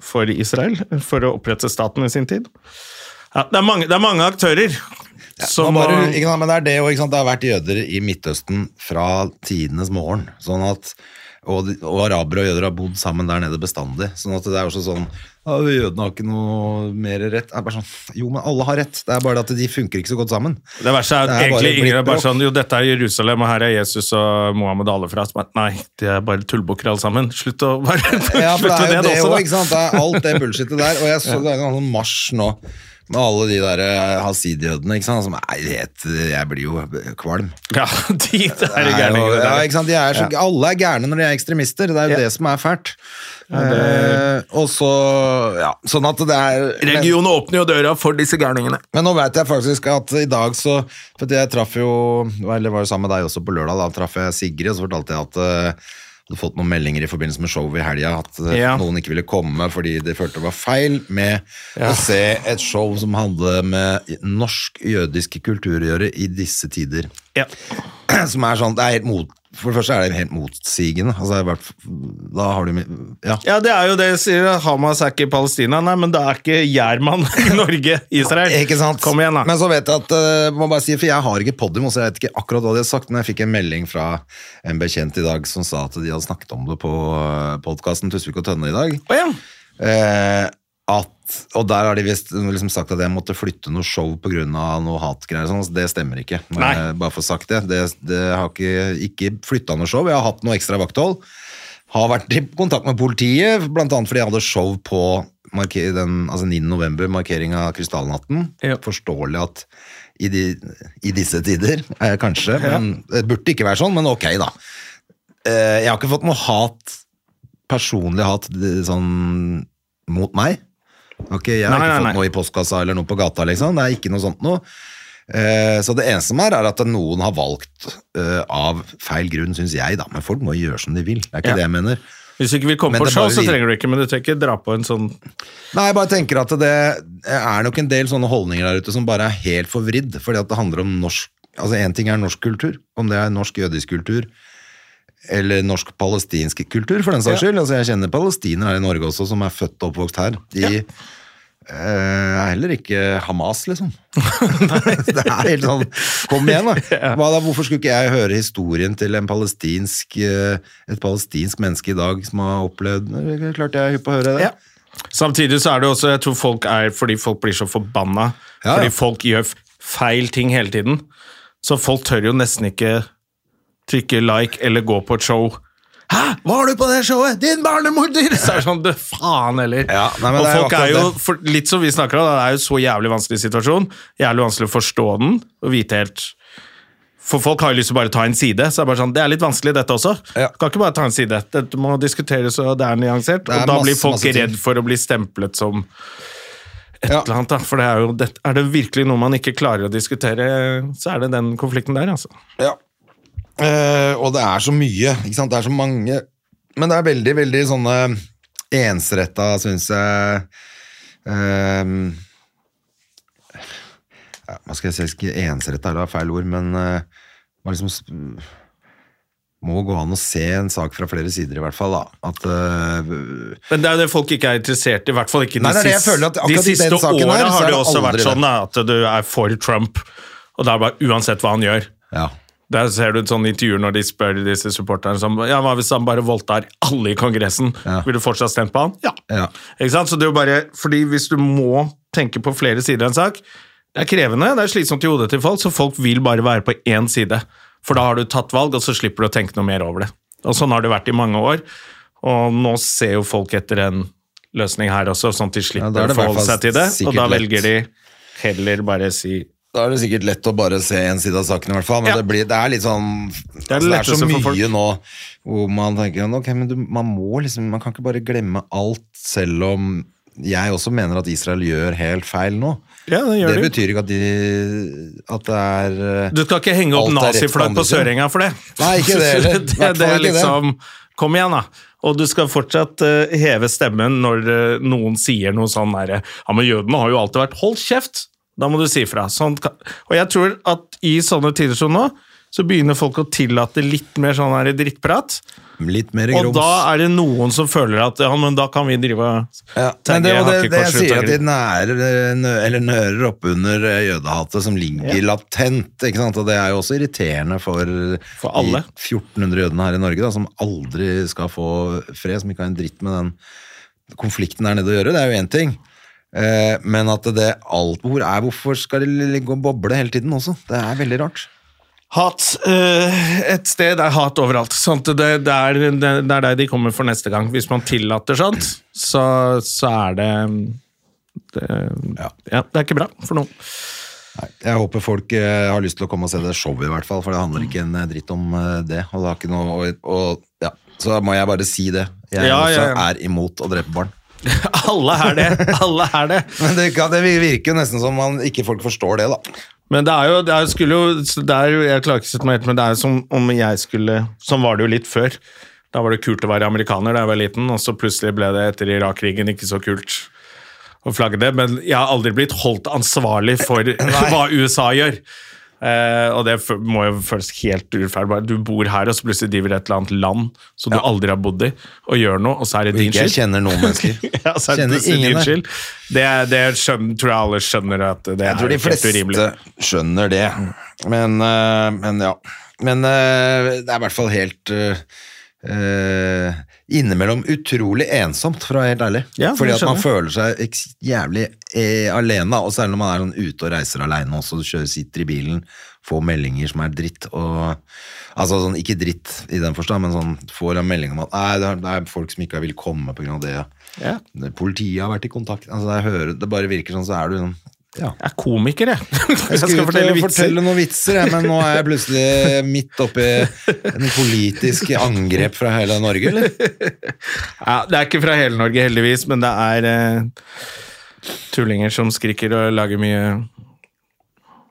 S1: for Israel, for å opprette staten i sin tid. Ja, det, er mange, det er mange aktører som
S2: Man bare,
S1: må-
S2: ikke sant, men det er det, og ikke sant, det har vært jøder i Midtøsten fra tidenes morgen. Sånn at Og, de- og arabere og jøder har bodd sammen der nede bestandig. Sånn at det er også sånn «Ja, Jødene har ikke noe mer rett. Det er bare sånn, jo, men alle har rett. Det er bare at de funker ikke så godt sammen.
S1: Det verste er at
S2: Det er
S1: egentlig
S2: bare
S1: Ingrid er bare
S2: blitt bråk.
S1: sånn Jo, dette er Jerusalem, og her er Jesus og Mohammed og alle fra. Så bare, Nei, de er bare tullbukker alle sammen. Slutt å bare
S2: Ja, for
S1: Slutt
S2: det
S1: med
S2: er
S1: det,
S2: jo
S1: også,
S2: det òg,
S1: da.
S2: ikke sant. Det er alt det bullshitet der. Og jeg så det er en sånn marsj nå med alle de der eh, hasid-jødene, ikke sant. Som er helt Jeg blir jo kvalm.
S1: Ja, de der er
S2: Nei,
S1: gærne.
S2: og-
S1: Ingrid,
S2: Ja,
S1: der.
S2: ikke sant? De er så, Alle er gærne når de er ekstremister. Det er
S1: Ja.
S2: jo det som er fælt. Eh, og så Ja, sånn at det er men-
S1: Regionen åpner jo døra for disse gærningene.
S2: Men nå vet jeg faktisk at i dag så For jeg traff jo Eller var jo sammen med deg også på lørdag, da traff jeg Sigrid, og så fortalte jeg at eh, jeg hadde fått noen meldinger i forbindelse med showet i helga at eh,
S1: Ja.
S2: noen ikke ville komme fordi de følte det var feil med å se et show som hadde med norsk jødisk kultur å gjøre i disse tider
S1: Ja.
S2: som er sånn, det er helt mot, for det første er det helt motsigende. Altså, det er i hvert fall- da har du, ja.
S1: ja, det er jo det sier jeg. Hamas er ikke i Palestina. Nei, men det er ikke Gjerman i Norge. Israel.
S2: Ikke sant?
S1: Kom igjen, da.
S2: Men så vet jeg at, eh, må bare si, for jeg har ikke podium, så jeg vet ikke akkurat hva de har sagt, men jeg fikk en melding fra en bekjent i dag som sa at de hadde snakket om det på eh, podcasten Tusvik og Tønne i dag.
S1: Å ja.
S2: Eh, at, og der har de visst liksom sagt at jeg måtte flytte noe show på grunn av noe hatgreier og sånn, så det stemmer ikke. Men,
S1: Nei.
S2: eh, Bare for å ha sagt det. Det, det har ikke, ikke flytta noe show. Jeg har hatt noe ekstra vakthold. Har vært i kontakt med politiet, blant annet fordi jeg hadde show på marke- den, altså 9. november, markering av Krystallnatten.
S1: Ja.
S2: Forståelig at i, de, i disse tider, eh, kanskje, men det burde ikke være sånn, men ok da. Eh, jeg har ikke fått noe hat, personlig hat, det- sånn mot meg. Ok, jeg har
S1: Nei,
S2: ikke
S1: nei, nei.
S2: fått noe i postkassa eller noe på gata, liksom. Det er ikke noe sånt noe. Eh, Så det eneste som er, er at noen har valgt eh, av feil grunn, syns jeg, da. Men folk må gjøre som de vil. Det er ikke
S1: Ja.
S2: det jeg mener.
S1: Hvis du ikke vil komme
S2: Men
S1: på
S2: det
S1: show,
S2: bare
S1: så
S2: vi-
S1: trenger du ikke, men du trenger ikke dra på en sånn
S2: Nei, jeg bare tenker at det er nok en del sånne holdninger der ute som bare er helt forvridd, fordi at det handler om norsk Altså, én ting er norsk kultur, om det er norsk jødisk kultur eller norsk-palestinsk kultur, for den saks skyld. Altså, jeg kjenner palestinere her i Norge også, som er født og oppvokst her. De eh, er heller ikke Hamas, liksom. det er helt sånn Kom igjen, da. Hva da. Hvorfor skulle ikke jeg høre historien til en palestinsk, eh, et palestinsk menneske i dag som har opplevd Klart jeg er hypp på å høre det.
S1: Ja. Samtidig så er det også Jeg tror folk er fordi folk blir så forbanna.
S2: Ja, ja.
S1: Fordi folk gjør f- feil ting hele tiden. Så folk tør jo nesten ikke trykke like eller gå på et show. Hæ, var du på det showet? Din barnemorder! Så er det sånn, du faen heller.
S2: Ja, nei,
S1: og
S2: men det er jo
S1: folk er jo,
S2: akkurat det.
S1: for, litt som vi snakker om, det er jo så jævlig vanskelig situasjon. Jævlig vanskelig å forstå den og vite helt For folk har jo lyst til å bare ta en side, så er det bare sånn, det er litt vanskelig dette også.
S2: Ja.
S1: Du kan ikke bare ta en side. Dette må diskuteres, og det er nyansert.
S2: Det er
S1: og da blir
S2: masse,
S1: folk
S2: masse ting.
S1: redd for å bli stemplet som et
S2: Ja.
S1: eller annet, da. For det er jo det, Er det virkelig noe man ikke klarer å diskutere, så er det den konflikten der, altså.
S2: Ja. Eh, og det er så mye, ikke sant? Det er så mange Men det er veldig, veldig sånne ensretta, syns jeg Ehm, ja, Hva skal jeg si? Ikke ensretta, det er feil ord, men eh, man liksom s- må gå an å se en sak fra flere sider, i hvert fall. da. At eh,
S1: Men det er jo det folk ikke er interessert i, i hvert fall ikke de,
S2: Nei, det er det jeg
S1: siste-
S2: føler at
S1: de
S2: akkurat i
S1: siste
S2: den saken her,
S1: åra
S2: så er
S1: har det
S2: det
S1: også vært
S2: aldri
S1: sånn da, at du er for Trump, og det er bare uansett hva han gjør.
S2: Ja.
S1: Der ser du et sånt intervju når de spør disse supporterne som Ja, hva hvis han bare voldtar alle i Kongressen?
S2: Ja.
S1: Vil du fortsatt stemme på han? Ja.
S2: Ja.
S1: Ikke sant? Så det er jo bare Fordi hvis du må tenke på flere sider av en sak, det er krevende, det er slitsomt i hodet til folk, så folk vil bare være på én side. For da har du tatt valg, og så slipper du å tenke noe mer over det. Og sånn har det vært i mange år, og nå ser jo folk etter en løsning her også, sånn at de
S2: Ja,
S1: slipper
S2: da er det
S1: å
S2: i hvert
S1: forholde
S2: fall
S1: seg til det, og
S2: sikkert
S1: da
S2: lett.
S1: velger de heller bare si
S2: Da er det sikkert lett å bare se en side av saken, i hvert fall.
S1: Ja.
S2: Men det, blir, det er litt sånn Det
S1: er
S2: er,
S1: det
S2: det er så
S1: letteste for
S2: mye
S1: folk.
S2: nå hvor man tenker "Ja, ok, men du, man må liksom Man kan ikke bare glemme alt, selv om jeg også mener at Israel gjør helt feil nå.
S1: Ja, det gjør
S2: det
S1: de.
S2: betyr ikke at de At det er eh,
S1: Du skal ikke henge opp
S2: Alt er rett på
S1: naziflagg
S2: andre
S1: på
S2: siden.
S1: Sørenga for det.
S2: Nei, ikke det heller.
S1: det,
S2: Hvertfall
S1: det er
S2: ikke det.
S1: liksom, Kom igjen, da. Og du skal fortsatt eh, heve stemmen når eh, noen sier noe sånn derre Ja, men jødene har jo alltid vært Hold kjeft! Da må du si fra. Sånn, kan- og jeg tror at i sånne tider som nå, så begynner folk å tillate litt mer sånn her drittprat.
S2: Litt mer
S1: Og
S2: grums.
S1: da er det noen som føler at ja, men da kan vi drive og
S2: Ja, men det,
S1: tagge
S2: og det, det jeg
S1: hakekors ut
S2: sier
S1: av
S2: at de
S1: grillen.
S2: nærer, eh, nø- eller nører opp under eh, jødehatet som ligger latent, ikke sant? Og det er jo også irriterende for,
S1: For alle.
S2: de 1400 jødene her i Norge, da, som aldri skal få fred, som ikke har en dritt med den konflikten der nede å gjøre, det er jo én ting. Eh, Men at det alt hvor er, hvorfor skal det ligge og boble hele tiden også? Det er veldig rart.
S1: Hat eh, et sted er hat overalt. Sånn at det, det, er, det, det er der de kommer for neste gang. Hvis man tillater sånt, så, så er det det, ja.
S2: Ja.
S1: det er ikke bra for noen.
S2: Jeg håper folk eh, har lyst til å komme og se det showet i hvert fall, for det handler ikke en eh, dritt om eh, det. Og det har ikke noe, og, og, ja. Så da må jeg bare si det. Jeg
S1: Ja, ja,
S2: også
S1: ja.
S2: er imot å drepe barn.
S1: Alle er det! Alle er det.
S2: Men det, kan, det virker jo nesten som man ikke folk forstår det, da.
S1: Men det er jo, det er, jo- skulle jo, så det er jo Jeg klarer ikke å sette meg helt, men det er jo som om jeg skulle Sånn var det jo litt før. Da var det kult å være amerikaner da jeg var liten, og så plutselig ble det etter Irak-krigen ikke så kult å flagge det. Men jeg har aldri blitt holdt ansvarlig for hva USA gjør. Eh, og det fø- må jo føles helt urettferdig. Bare Du bor her, og så plutselig driver et eller annet land som du aldri har bodd i, og gjør noe, og så er det din
S2: Jeg
S1: skyld.
S2: kjenner noen mennesker.
S1: Ja, så er det
S2: Kjenner
S1: plutselig din
S2: ingen der.
S1: skyld. Det, det skjønner, tror jeg alle skjønner at det
S2: Jeg tror
S1: er
S2: de
S1: helt urimelig.
S2: fleste skjønner det. Men, eh, men ja. Men eh, det er i hvert fall helt eh, eh, innimellom utrolig ensomt, for å være helt ærlig.
S1: Ja,
S2: Fordi
S1: jeg
S2: at man
S1: skjønner.
S2: føler seg eks- jævlig eh, alene, da. og særlig når man er sånn ute og reiser alene også, kjører, sitter i bilen, får meldinger som er dritt. Og, altså sånn, ikke dritt i den forstand, men sånn får en melding om at nei, det er- det er folk som ikke vil komme pga. det.
S1: Ja.
S2: Politiet har vært i kontakt. Altså, jeg hører, det bare virker sånn, så er du sånn ja.
S1: Jeg er komiker, jeg. Jeg
S2: Jeg
S1: skal
S2: skulle
S1: fortelle
S2: ut og
S1: vitser.
S2: fortelle noen vitser, jeg, men nå er jeg plutselig midt oppi en politisk angrep fra hele Norge, eller?
S1: Ja, det er ikke fra hele Norge, heldigvis, men det er eh, tullinger som skriker og lager mye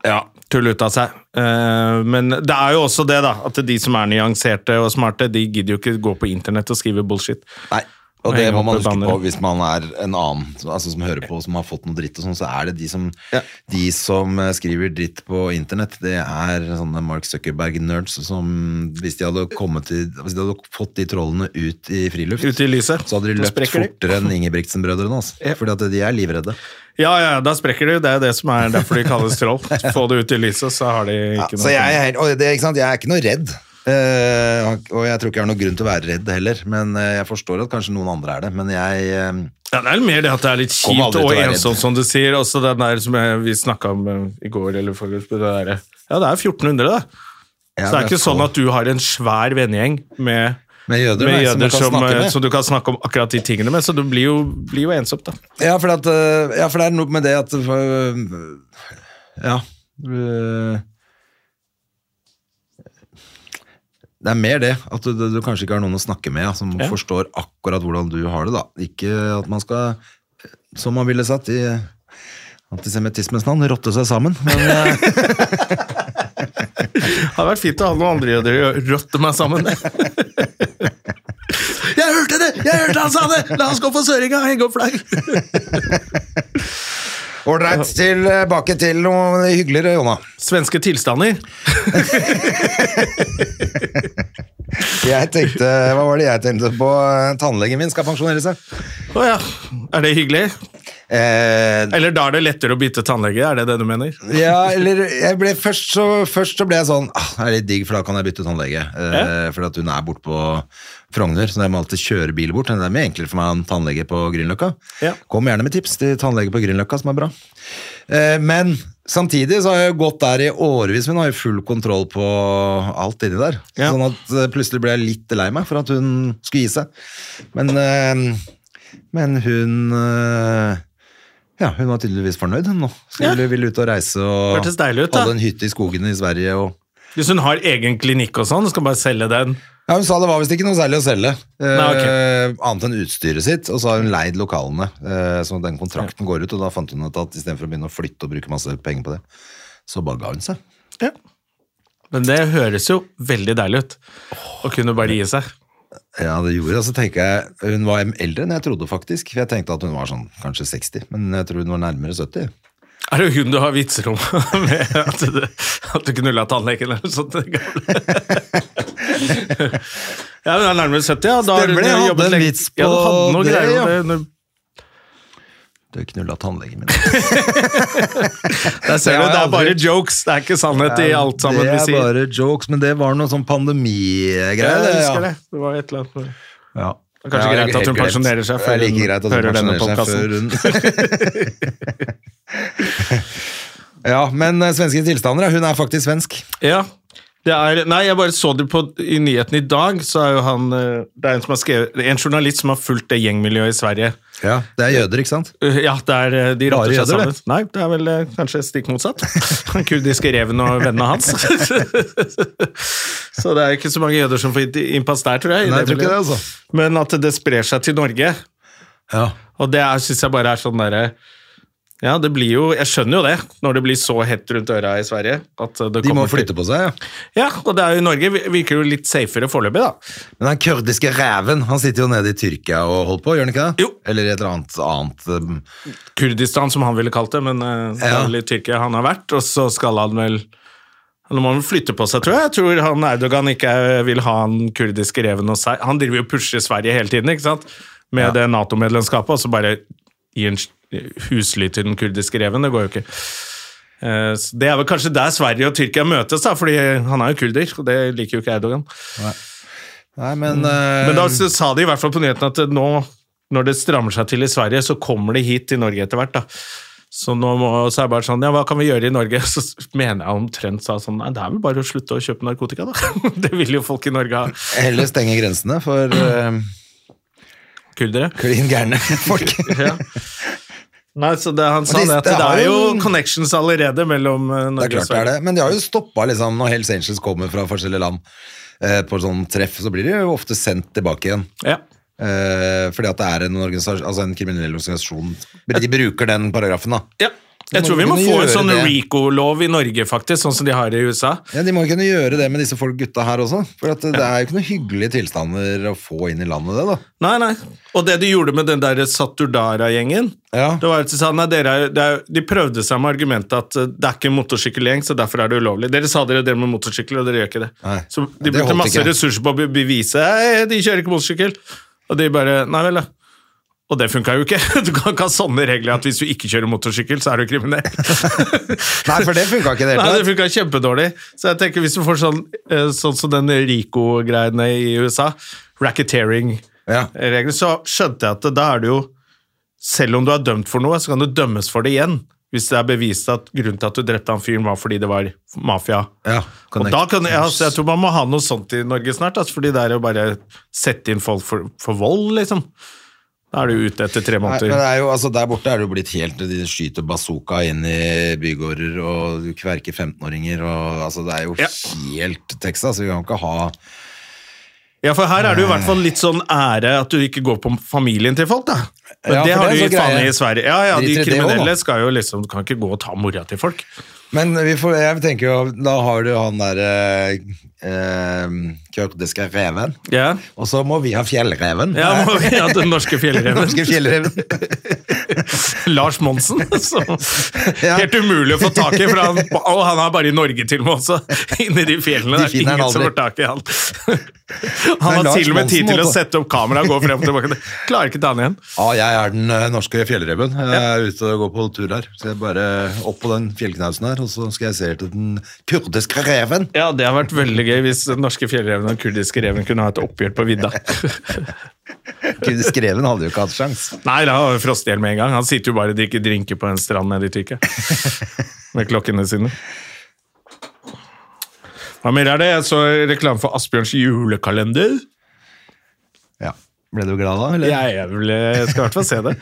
S1: ja, tull ut av seg. Eh, men det er jo også det, da, at de som er nyanserte og smarte, de gidder jo ikke gå på internett og skrive bullshit.
S2: Nei. Og det
S1: Henge
S2: må
S1: opp et
S2: man huske
S1: banner.
S2: på hvis man er en annen så- altså som hører på og som har fått noe dritt, og sånn, så er det de som, de som eh, skriver dritt på internett, det er sånne Mark Zuckerberg-nerds som hvis de hadde kommet i, hvis de hadde fått de trollene ut i friluft,
S1: Ut i lyset.
S2: så hadde de
S1: Da
S2: løpt
S1: sprekker de.
S2: fortere enn Ingebrigtsen-brødrene, altså.
S1: Ja.
S2: Fordi at de er livredde.
S1: Ja, ja, da sprekker de. Det er jo det som er derfor de kalles troll. Få det ut i lyset, så har de
S2: Ja,
S1: ikke
S2: så jeg, er helt- og det, ikke sant? jeg er ikke noe redd. Eh, og- og jeg tror ikke jeg har noen grunn til å være redd heller. Men eh, jeg forstår at kanskje noen andre er det. Men jeg eh,
S1: Ja, det er mer det at det er litt
S2: Kommer
S1: kjipt
S2: aldri til
S1: og
S2: å være
S1: ensomt,
S2: redd.
S1: som du sier. Også den der som jeg, vi snakka om eh, i går, eller forrige det derre Ja, det er 1400, da.
S2: jeg
S1: så det er ikke sånn at du har en svær vennegjeng med
S2: Med jøder,
S1: med
S2: nei, som
S1: jøder
S2: du kan
S1: som,
S2: snakke
S1: eh,
S2: med.
S1: som du kan snakke om akkurat de tingene med, så det blir jo, blir jo ensomt, da.
S2: Ja, for, at, eh, ja, for det er noe med det at eh, Ja. eh, Det er mer det, at du, du, du kanskje ikke har noen å snakke med ja, som
S1: Ja.
S2: forstår akkurat hvordan du har det. da. Ikke at man skal, eh, som man ville sagt i antisemittismens navn, rotte seg sammen. Men eh,
S1: Det hadde vært fint å ha noen andre jøder og rotte meg sammen. jeg hørte det! Jeg hørte han sa det! La oss gå på Søringa og henge opp flagg!
S2: Ålreit, tilbake til noe hyggeligere, Jonna.
S1: Svenske tilstander.
S2: Jeg tenkte, Hva var det jeg tenkte på? eh, Tannlegen min skal pensjonere seg.
S1: Å ja. Er det hyggelig?
S2: Eh,
S1: Eller da er det lettere å bytte tannlege? Er det det du mener?
S2: ja, eller jeg ble, først, så, først så ble jeg sånn ah, Det er litt digg, for da kan jeg bytte tannlege. Eh, Fordi at hun er borte på Frogner, så jeg må alltid kjøre bil bort. Det er mye enklere for meg enn tannlege på Grünerløkka.
S1: Ja.
S2: Kom gjerne med tips til tannlege på Grünerløkka, som er bra. Eh, men samtidig så har jeg jo gått der i årevis, men har jo full kontroll på alt inni der.
S1: Ja.
S2: Sånn at eh, plutselig ble jeg litt lei meg for at hun skulle gi seg. Men, eh, men hun eh, ja, hun var tydeligvis fornøyd hun nå. Skulle ville ut og reise og
S1: Hørtes deilig ut, da.
S2: hadde en hytte i skogene i Sverige. Og...
S1: Hvis hun har egen klinikk og sånn, skal hun bare selge den.
S2: Ja, hun sa det var visst ikke noe særlig å selge, eh,
S1: Nei, ok.
S2: annet enn utstyret sitt. Og så har hun leid lokalene, eh, så den kontrakten går ut. Og da fant hun ut at istedenfor å begynne å flytte og bruke masse penger på det, så bare ga hun seg.
S1: Men det høres jo veldig deilig ut. Å kunne bare gi seg.
S2: Ja, det gjorde det. Og så tenker jeg Hun var eldre enn jeg trodde, faktisk. For jeg tenkte at hun var sånn kanskje 60, men jeg tror hun var nærmere 70.
S1: Er det hun du har vitser om? med at du, at du knulla tannlegen eller noe sånt? det gamle? ja, men hun er nærmere 70, ja. Da har hun
S2: Stemmer det, jeg hadde
S1: jobbet
S2: en
S1: lenge.
S2: vits
S1: ja, du hadde
S2: på
S1: noe
S2: det,
S1: greier
S2: ja.
S1: om det. når-
S2: Du knulla tannlegen min.
S1: Der ser
S2: Jeg
S1: du,
S2: har
S1: det er bare
S2: aldri-
S1: jokes, det er ikke sannhet i alt sammen
S2: det
S1: vi
S2: er
S1: sier.
S2: bare jokes, men det var noe sånn
S1: Ja,
S2: pandemigreie.
S1: jeg
S2: det,
S1: husker det. Det var et eller annet med-
S2: Ja.
S1: Det er kanskje
S2: Ja,
S1: greit at hun
S2: helt
S1: pensjonerer seg
S2: Det er
S1: før
S2: like
S1: hun
S2: greit at hun
S1: hører denne
S2: pensjonerer seg før hun- ja, men eh, svenske tilstander, ja. hun er faktisk svensk.
S1: Ja. Det er, nei, jeg bare så det på i nyheten i dag. Så er jo han eh, Det er en, som har skrevet, det er en journalist som har fulgt det gjengmiljøet i Sverige.
S2: Ja, Det er jøder, ikke sant?
S1: Uh, Ja, det er, eh, de
S2: Bare
S1: rotter seg
S2: jøder,
S1: sammen. Nei, det er vel eh, kanskje stikk motsatt. Den kurdiske reven og vennene hans. så det er ikke så mange jøder som får inn- innpass der, tror jeg. i
S2: Nei, jeg tror ikke det,
S1: miljøet.
S2: altså.
S1: Men at det sprer seg til Norge,
S2: Ja.
S1: og det syns jeg bare er sånn derre ja, det blir jo, Jeg skjønner jo det, når det blir så hett rundt øra i Sverige. At eh, det
S2: De må
S1: kommer til-
S2: flytte på seg, ja.
S1: Ja, og det er jo i Norge vi- virker jo litt safere foreløpig, da.
S2: Men den kurdiske ræven, han sitter jo nede i Tyrkia og holder på, gjør han ikke det?
S1: Jo.
S2: Eller et eller annet annet um,
S1: Kurdistan, som han ville kalt det, men eh, det
S2: Ja.
S1: er vel i Tyrkia han har vært. Og så skal han vel Nå må han vel flytte på seg, tror jeg. Jeg tror han Erdogan ikke er- vil ha den kurdiske reven hos seg. Han driver jo og pusher Sverige hele tiden, ikke sant? Med det Nato-medlemskapet, og så bare gi en s- huslyd til den kurdiske reven. Det går jo ikke. Eh, så Det er vel kanskje der Sverige og Tyrkia møtes, da, fordi han er jo kurder, og det liker jo ikke Erdogan.
S2: Nei, men, eh,
S1: Men da s- sa de i hvert fall på nyheten at nå, når det strammer seg til i Sverige, så kommer det hit til Norge etter hvert, da. Så nå må, så er det bare sånn, ja, hva kan vi gjøre i Norge? Så s- mener jeg omtrent sa sånn, nei, det er vel bare å slutte å kjøpe narkotika, da. Det vil jo folk i Norge ha.
S2: Heller stenge grensene for um,
S1: Kurdere.
S2: klin gærne folk.
S1: Ja. Nei, så det, han sa
S2: de-
S1: det at
S2: det
S1: det
S2: har
S1: er
S2: jo
S1: jo
S2: en-
S1: connections allerede mellom eh,
S2: Det er
S1: Norge og
S2: klart det er
S1: Sverige.
S2: det, men de har jo stoppa liksom, når Hells Angels kommer fra forskjellige land eh, på sånn treff, så blir de jo ofte sendt tilbake igjen.
S1: Ja.
S2: Eh, fordi at det er en, organisas- altså en kriminell organisasjon. De bruker den paragrafen, da.
S1: ja. Jeg
S2: må
S1: tror vi må
S2: kunne
S1: få en
S2: gjøre
S1: sånn
S2: det.
S1: RICO-lov i Norge, faktisk, sånn som de har i USA.
S2: Ja, De må jo kunne gjøre det med disse folk gutta her også. For at det er jo ikke noen hyggelige tilstander å få inn i landet, det, da.
S1: Nei, nei. Og det de gjorde med den der Saturdara-gjengen
S2: Ja.
S1: Det var at De sa, nei, dere er, det er, de prøvde seg med argumentet at eh, det er ikke en motorsykkelgjeng, så derfor er det ulovlig. Dere sa dere drev med motorsykkel, og dere gjør ikke det.
S2: Nei,
S1: så
S2: det
S1: De brukte
S2: holdt
S1: masse
S2: ikke.
S1: ressurser på å be- bevise «Hei, de kjører ikke motorsykkel. Og de bare Nei vel, da. Og det funka jo ikke. Du kan ikke ha sånne regler at hvis du ikke kjører motorsykkel, så er du kriminell.
S2: Nei, for det funka ikke i det
S1: Nei, det
S2: hele tatt.
S1: funka kjempedårlig. Så jeg tenker hvis du får sånn eh, sånn som den Rico-greiene i USA,
S2: Ja.
S1: racketeering-regler, så skjønte jeg at da er det jo Selv om du er dømt for noe, så kan du dømmes for det igjen. Hvis det er bevist at grunnen til at du drepte han fyren, var fordi det var mafia.
S2: Ja,
S1: Og
S2: connect.
S1: da kan jeg, altså, jeg tror man må ha noe sånt i Norge snart, altså, fordi det er jo bare sette inn folk for, for vold, liksom. Da er du ute etter tre
S2: Nei, men
S1: måneder.
S2: det er jo, altså, der borte er det jo blitt helt De skyter bazooka inn i bygårder og du kverker 15-åringer og altså, Det er jo
S1: Ja.
S2: helt Texas. Vi kan jo ikke ha
S1: Ja, for her er det jo i hvert fall litt sånn ære at du ikke går på familien til folk, da. Men
S2: Ja,
S1: det
S2: for
S1: har
S2: det
S1: du
S2: er
S1: gitt
S2: så
S1: faen i
S2: greie.
S1: i Sverige. Ja, ja, de
S2: Driter i det også,
S1: kriminelle
S2: da.
S1: skal jo liksom Kan ikke gå og ta mora til folk.
S2: Men vi får, jeg tenker jo, da har du han der eh, eh, kurdiske reven,
S1: Ja,
S2: og så må vi ha fjellreven.
S1: ja, må vi ha den norske fjellreven.
S2: Norske fjellreven.
S1: Lars Monsen. Som,
S2: Ja.
S1: Helt umulig å få tak i, for han, og han er bare i Norge til og med også. Inni de fjellene.
S2: De
S1: Det er
S2: finner han
S1: ingen som
S2: aldri.
S1: får tak i han.
S2: Nei,
S1: Han har
S2: Lars
S1: til og med tid
S2: Monsen
S1: til å
S2: må ta-
S1: sette opp kamera og gå frem og tilbake. Klarer ikke ta han igjen.
S2: Ja, jeg er den eh, norske fjellreven. Jeg er ute og går på tur der. Så jeg bare opp på den fjellknausen her, og så skal jeg se etter den kurdiske reven.
S1: Ja, det har vært veldig gøy hvis den norske fjellreven og den kurdiske reven kunne ha et oppgjør på vidda.
S2: Kurdiske reven hadde jo ikke hatt sjans.
S1: Nei, da har vi frostet ihjel med en gang. Han sitter jo bare og drikker drinker på en strand nede i Tyrkia. Med klokkene sine. Hva mer er det? Jeg så reklame for Asbjørns julekalender.
S2: Ja. Ble du glad da, eller?
S1: Jeg, er vel, jeg skal i hvert fall se det.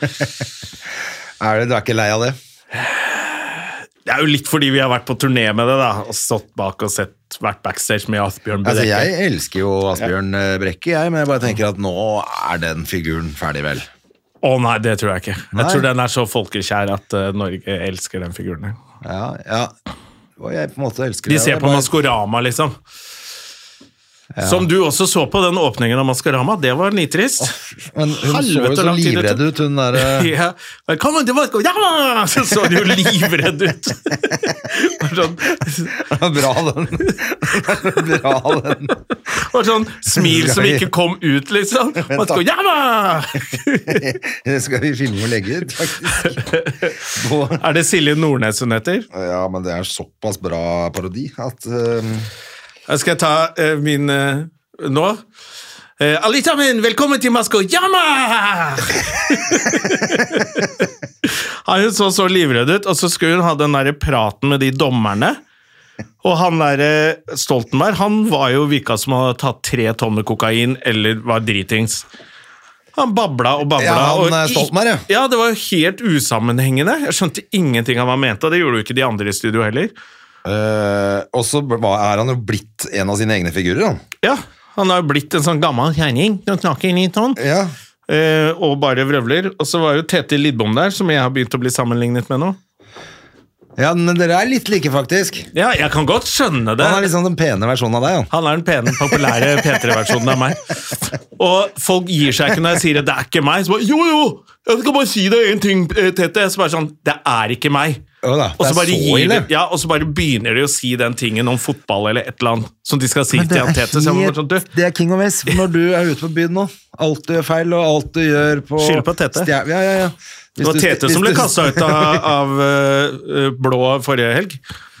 S2: Er det, du er ikke lei av det?
S1: Det er jo litt fordi vi har vært på turné med det, da. Og stått bak og sett, vært backstage med Asbjørn
S2: Altså,
S1: Brekke.
S2: jeg elsker jo Asbjørn eh, Brekke, jeg, men jeg bare tenker at nå er den figuren ferdig vel.
S1: Å nei, det tror jeg ikke.
S2: Nei.
S1: Jeg tror den er så folkekjær at eh, Norge elsker den figuren. her.
S2: Ja, ja. Og jeg på en måte elsker
S1: De
S2: det, og
S1: ser
S2: jeg
S1: på
S2: bare-
S1: Maskorama, liksom. Som du også så på den åpningen av Maskorama. Det var nitrist.
S2: Men hun så jo
S1: Helvete,
S2: så
S1: lang tid det
S2: livredd
S1: tok.
S2: ut, hun der eh,
S1: Ja. Velkommen til Moskva! Ja! Så så de jo livredd ut. Var sånn,
S2: Bra, den. Bra, den.
S1: var sånn smil som ikke kom ut, liksom. Moskva, ja!
S2: Det skal vi filme og legge ut, faktisk. På
S1: Er det Silje Nordnes hun heter?
S2: Ja, men det er såpass bra parodi at eh,
S1: Da skal jeg ta eh, min eh, nå. Eh, alle sammen, velkommen til Maskorama! Han hun så så livredd ut, og så skulle hun ha den der praten med de dommerne. Og han der eh, Stoltenberg han var jo virka som han hadde tatt tre tonner kokain eller var dritings. Han babla og babla.
S2: Ja, han,
S1: og
S2: eh,
S1: i-
S2: Stoltenberg, ja.
S1: ja, det var jo helt usammenhengende. Jeg skjønte ingenting av hva han mente, og det gjorde jo ikke de andre i studio heller.
S2: eh, Og så b- er han jo blitt en av sine egne figurer, han.
S1: Ja, han har jo blitt en sånn gammel kjerring. som snakker litt sånn.
S2: Ja.
S1: Eh, og bare vrøvler. Og så var jo Tete Lidbom der, som jeg har begynt å bli sammenlignet med nå.
S2: ja, men dere er litt like, faktisk.
S1: Ja, jeg kan godt skjønne det.
S2: Han er liksom den pene versjonen av deg, han.
S1: Han er den pene, populære P3-versjonen av meg. Og folk gir seg ikke når jeg sier at det er ikke meg. Så bare, jo, jo, jeg skal bare si deg én ting, eh, Tete. Så bare sånn, det er ikke meg.
S2: Ja da,
S1: Og så
S2: det er
S1: bare,
S2: så
S1: gir de,
S2: ille.
S1: ja, og så bare begynner de å si den tingen om fotball eller et eller annet som de skal si til han Tete. Så jeg må bare sånn, du,
S2: det er king of ace når du er ute på byen nå. Alt du gjør feil, og alt du gjør på
S1: Skyld på Tete.
S2: Stjer- Ja, ja, ja. Hvis
S1: det var
S2: du-
S1: Tete
S2: hvis
S1: som ble
S2: du-
S1: kasta ut av, av eh, blå forrige helg.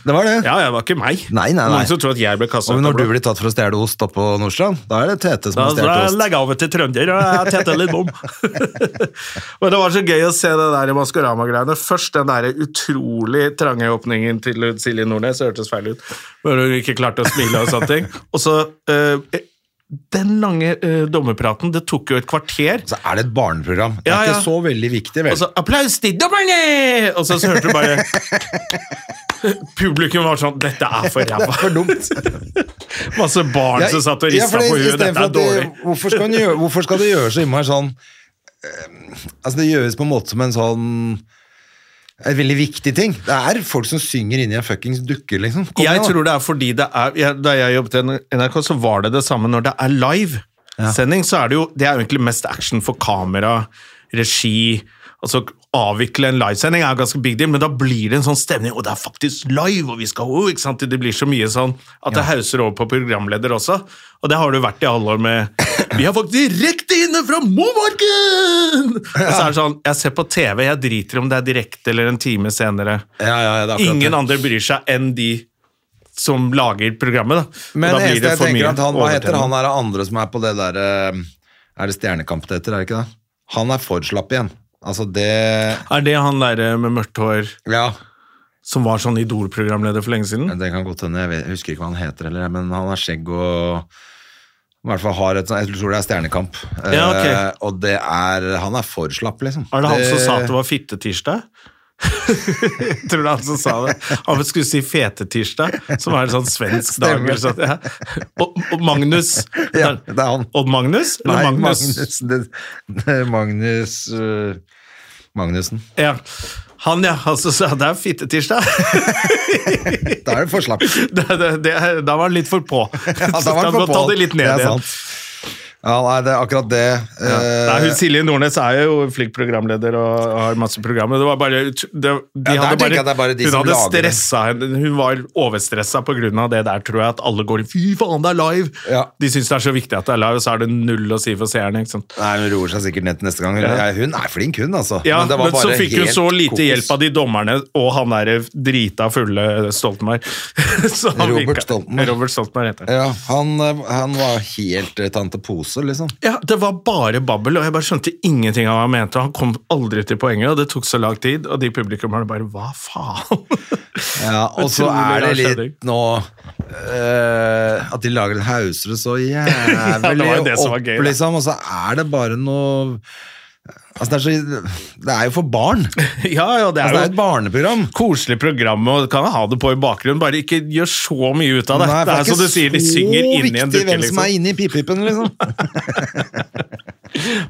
S2: Det var det.
S1: Ja, ja, det var ikke meg.
S2: Nei, nei, nei.
S1: Noen som tror at jeg ble kasta
S2: Og
S1: ut
S2: når
S1: av
S2: du
S1: blå.
S2: blir tatt for å stjele ost oppe på Nordstrand, da er det Tete som
S1: Da,
S2: har
S1: da
S2: stjålet ost.
S1: legger jeg over til trønder og jeg tetter litt bom. Men det var så gøy å se det der Maskorama-greiene. Først den der utrolig trange åpningen til Silje Nordnes, det hørtes feil ut, hvor hun ikke klarte å smile og sånne ting. Og så eh, den lange eh, dommerpraten, det tok jo et kvarter.
S2: Så er det et barneprogram.
S1: Ja,
S2: Det er
S1: ja. Altså-
S2: ikke så veldig viktig, vel.
S1: Og så applaus til dommerne! Og så, så hørte du bare Publikum var sånn Dette er for
S2: det er
S1: ræva.
S2: for dumt.
S1: Masse barn som satt og
S2: for
S1: rista
S2: det-
S1: på huet.
S2: istedenfor
S1: Dette
S2: at
S1: er
S2: det-
S1: dårlig.
S2: Hvorfor skal, den gjøre, hvorfor skal det gjøres så innmari sånn eh, Altså, det gjøres på en måte som en sånn en veldig viktig ting. Det er folk som synger inni en fuckings dukke, liksom. Kom
S1: jeg
S2: igjen, da.
S1: tror det er fordi det er jeg, Da jeg jobbet i NRK, så var det det samme når det er live-sending. Så er det jo Det er jo egentlig mest action for kamera, regi Altså avvikle en livesending er ganske big deal, men da blir det en sånn stemning. Og det er faktisk live, og vi skal oh, ikke sant? Det blir så mye sånn at det hauser over på programleder også. Og det har det jo vært i alle år med Vi har folk direkte inne fra Momarken! Og så er det sånn Jeg ser på TV, jeg driter om det er direkte eller en time senere.
S2: ja, ja, det er akkurat det.
S1: Ingen andre bryr seg enn de som lager programmet, da. Og
S2: Men
S1: da blir
S2: eneste
S1: det
S2: jeg
S1: for
S2: tenker
S1: mye
S2: at han, hva heter
S1: overtenning.
S2: han er det andre som er på det der eh, Er det Stjernekamp det heter, er det ikke det? Han er for slapp igjen. Altså, det
S1: Er det han derre med mørkt hår
S2: Ja,
S1: som var sånn Idol-programleder for lenge siden?
S2: det kan godt hende. Jeg, vet, jeg husker ikke hva han heter, eller, men han har skjegg og i hvert fall har et sånt, Jeg tror det er Stjernekamp.
S1: Ja, ok.
S2: Eh, og det er Han er for slapp, liksom.
S1: Er det han som sa at det var fittetirsdag? Tror du han som sa det? Han skulle si fetetirsdag, som er en sånn svensk dag.
S2: Stemmer.
S1: eller sånn, Ja. Og, og Magnus
S2: Ja, det er han.
S1: Odd Magnus? Eller
S2: Nei,
S1: Magnus?
S2: Magnus, det, det er Magnus øh, Magnussen.
S1: Ja. Han, ja. Han som sa det er fittetirsdag.
S2: Da er det for slapp. Ja,
S1: Det, det, det, da var han litt for på.
S2: da var
S1: Så
S2: han for
S1: må ta
S2: på.
S1: det litt
S2: Det
S1: ned
S2: er
S1: igjen.
S2: sant. Ja, nei, det er akkurat det. eh,
S1: Nei, hun, Silje Nordnes er jo flink programleder og har masse programmer. Det var bare, ut- det, de
S2: Ja, der
S1: hadde
S2: tenker jeg det er bare de
S1: hun
S2: som
S1: hadde
S2: lager det.
S1: stressa henne. Hun var overstressa pga. det der, tror jeg. At alle går 'fy faen, det er live'!
S2: Ja.
S1: De syns det er så viktig at det er live, og så er det null å si for seerne. ikke sant?
S2: Nei, Hun roer seg sikkert ned til neste gang. Ja, hun er flink, hun, altså.
S1: Ja, men,
S2: det var
S1: så
S2: bare
S1: fikk hun
S2: helt
S1: så lite
S2: kokos.
S1: hjelp av de dommerne og han der drita fulle Stoltenberg. Så han
S2: Robert Stoltenberg.
S1: Robert Stoltenberg heter han.
S2: Ja, han, eh, han var helt eh, tante pose, liksom.
S1: Ja, det var bare babbel, og jeg bare skjønte ingenting av hva han mente. Han kom aldri til poenget, og det tok så lang tid, og de publikummerne bare Hva faen?
S2: Ja, og så
S1: Utrolig
S2: er det
S1: rar stemning.
S2: litt nå eh, At de lager en hausere så
S1: det
S2: jævlig
S1: var jo det som var
S2: opp,
S1: gøy, da.
S2: liksom. Og så er det bare noe Altså, det er, så, det er jo for barn. Altså,
S1: Ja, ja, det
S2: det
S1: er
S2: er
S1: jo
S2: et
S1: et
S2: barneprogram.
S1: koselig program, og du kan ha det på i bakgrunnen, bare ikke gjør så mye ut av det.
S2: Nei,
S1: det er
S2: ikke
S1: som du sier, de
S2: så
S1: synger inni en liksom.
S2: viktig
S1: dukke,
S2: hvem som
S1: liksom.
S2: er inni pipipen, liksom.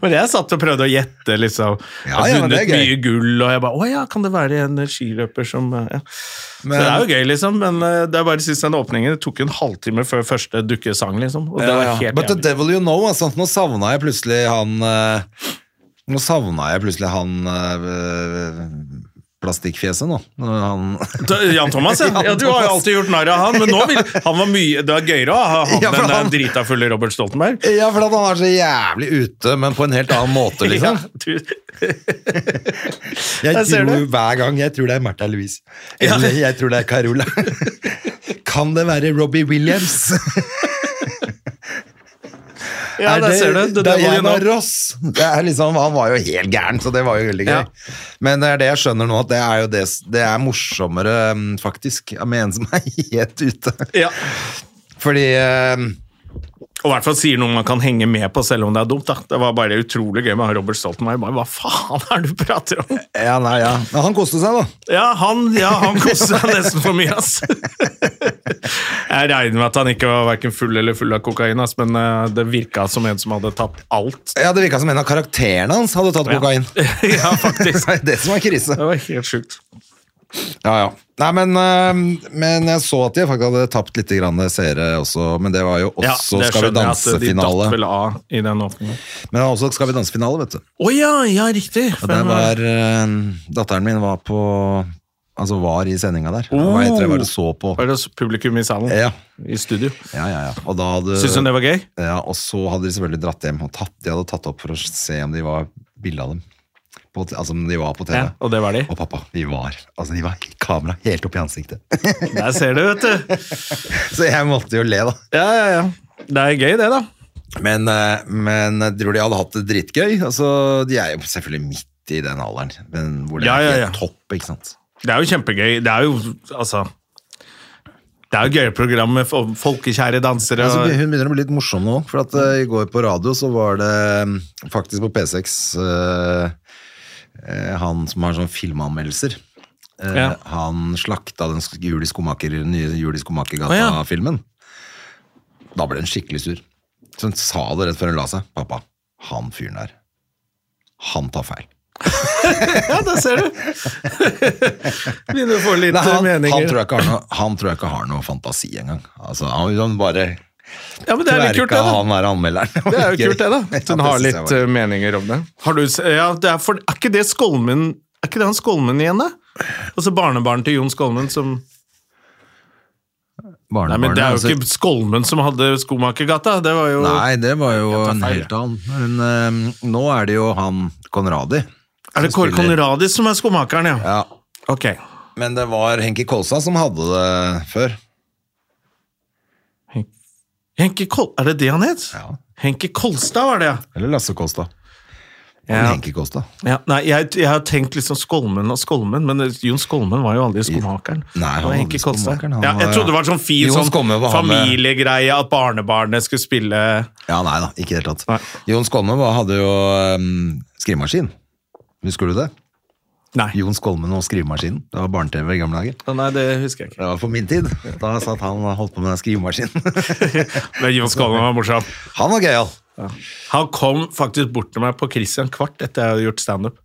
S1: Men jeg satt og prøvde å gjette, liksom.
S2: Ja,
S1: jeg
S2: ja,
S1: har
S2: men det
S1: vunnet
S2: er gøy.
S1: mye gull, og jeg bare Å ja, kan det være en skiløper som eh, ja. Så
S2: Men-
S1: det er jo gøy, liksom, men eh, det er bare sist den åpningen. Det tok en halvtime før første dukkesang, liksom. Og det var
S2: Ja, ja.
S1: helt
S2: But the
S1: jævlig.
S2: devil you know, altså. Nå savna jeg plutselig han eh, Nå savna jeg plutselig han eh, plastikkfjeset, nå. Når Han,
S1: Da- Jan Thomas, ja. ja. Du har jo alltid gjort narr av han, men nå vil, han var mye, det var gøyere å ha han
S2: Ja, for
S1: enn
S2: han-
S1: den drita fulle Robert Stoltenberg.
S2: ja, for at han er så jævlig ute, men på en helt annen måte, liksom.
S1: Ja, du,
S2: Jeg
S1: Jeg ser
S2: tror
S1: det.
S2: hver gang jeg tror det er Märtha Louise. Eller jeg tror det er Carola. Kan det være Robbie Williams?
S1: ja
S2: Er
S1: der ser du. The Devil You
S2: Diana
S1: Know.
S2: Ross. Det er liksom, han var jo helt gæren, så det var jo veldig gøy.
S1: Ja.
S2: Men det er det jeg skjønner nå, at det er jo det, det er morsommere, mm, faktisk, med en som er helt ute.
S1: Ja.
S2: Fordi eh,
S1: Og i hvert fall sier noe man kan henge med på, selv om det er dumt. da. Det var bare utrolig gøy med han Robert Stoltenberg. Bare, Hva faen er det du prater om?
S2: Ja, nei, ja. Men han koste seg, da.
S1: Ja, han, ja, han koste seg nesten for mye, ass. Jeg regner med at han ikke var hverken full eller full av kokain, ass, men eh, det virka som en som hadde tatt alt.
S2: Ja, Det virka som en av karakterene hans hadde tatt kokain.
S1: Ja, faktisk.
S2: Det er det som er krise.
S1: Det var helt sjukt.
S2: Ja, ja. Nei, men, eh, men jeg så at de faktisk hadde tapt litt grann seere også, men det var jo også
S1: det
S2: Skal vi
S1: skjønner jeg at de
S2: danse-finale.
S1: datt vel av i den åpningen.
S2: Men det var også Skal vi danse-finale, vet du.
S1: Å ja, ja, riktig!
S2: Og der
S1: Hvem var-
S2: var eh, Datteren min var på Altså var i sendinga der. Hva heter det? Var det så på?
S1: var det publikum i salen?
S2: Ja, Eh,
S1: I studio.
S2: ja, ja. ja. Og da hadde
S1: Syns hun det var gøy?
S2: Ja, og så hadde de selvfølgelig dratt hjem og tatt De hadde tatt opp for å se om de var bilde av dem. På, t- altså om de var på TV.
S1: Ja, og det var de.
S2: Og pappa, de var Altså de var kamera helt opp i ansiktet.
S1: Der ser du, vet du.
S2: Så jeg måtte jo le, da.
S1: Ja, ja, ja. Det er gøy, det, da.
S2: Men, eh, men jeg tror de hadde hatt det dritgøy. Altså, de er jo selvfølgelig midt i den alderen men hvor det
S1: Ja, ja,
S2: er
S1: ja.
S2: helt topp, ikke sant.
S1: Det er jo kjempegøy. Det er jo altså Det er jo gøye program med fo- folkekjære dansere.
S2: Altså,
S1: og-
S2: hun begynner å bli litt morsom nå, for at eh, i går på radio så var det mm, faktisk på P6 eh, eh, han som har sånn filmanmeldelser. Eh,
S1: Ja.
S2: Han slakta den sk- Juli Skomaker, den nye
S1: Å,
S2: Juli
S1: ja.
S2: Skomakergata-filmen. Da ble hun skikkelig sur. Så hun sa det rett før hun la seg. Pappa, han fyren der, han tar feil.
S1: Ja, der ser du! Begynner å få litt
S2: Nei, han,
S1: meninger.
S2: han, tror jeg ikke har noe, han tror jeg ikke har noe fantasi engang. Altså, han, han bare
S1: ja, men det er litt kult, det.
S2: kverka
S1: da.
S2: han der anmelderen.
S1: Det er jo
S2: var
S1: kult, det,
S2: gøy.
S1: da.
S2: Ja,
S1: At hun
S2: det
S1: har
S2: synes jeg
S1: litt
S2: var-
S1: eh, meninger om det. Har du, s- ja, det er, for, er ikke det Skolmen Er ikke det han Skolmen igjen, da? Altså barnebarnet til Jon Skolmen som Nei, men det er jo
S2: altså-
S1: ikke Skolmen som hadde Skomakergata. Det var jo
S2: Nei, det var jo
S1: tar
S2: en
S1: feil,
S2: helt annen. Men eh, nå er det jo han Konradi.
S1: Er det Kåre
S2: spiller-
S1: Conradis som er skomakeren, ja?
S2: Ja,
S1: Ok.
S2: men det var Henki Kolsa som hadde det før.
S1: Henke Kol... Er det det han het?
S2: Ja.
S1: Henke Kolstad var det, ja.
S2: Eller Lasse Kolstad.
S1: Ja.
S2: Henki Kolstad.
S1: Ja, nei, jeg, jeg har tenkt liksom Skolmen og Skolmen, men Jon Skolmen var jo aldri skomakeren.
S2: Nei, han
S1: Det var
S2: var
S1: Henke
S2: aldri
S1: Kolstad.
S2: skomakeren, han
S1: Ja, jeg
S2: var-
S1: trodde det var sånn fin
S2: Jon
S1: sånn
S2: Skolmen var han med-
S1: familiegreie, at barnebarnet skulle spille
S2: Ja, nei da, ikke i det hele tatt.
S1: Nei.
S2: Jon Skolmen var- hadde jo um, skrivemaskin. Husker du det?
S1: Nei.
S2: Jon Skolmen og skrivemaskinen. Det var barne-TV i gamle dager.
S1: Å, Nei, det husker jeg ikke.
S2: Det var for min tid. Da satt han og holdt på med den skrivemaskinen.
S1: Men Jon Skolmen var morsom.
S2: Han var gøyal.
S1: Han kom faktisk bort til meg på Christian Kvart etter jeg hadde gjort standup,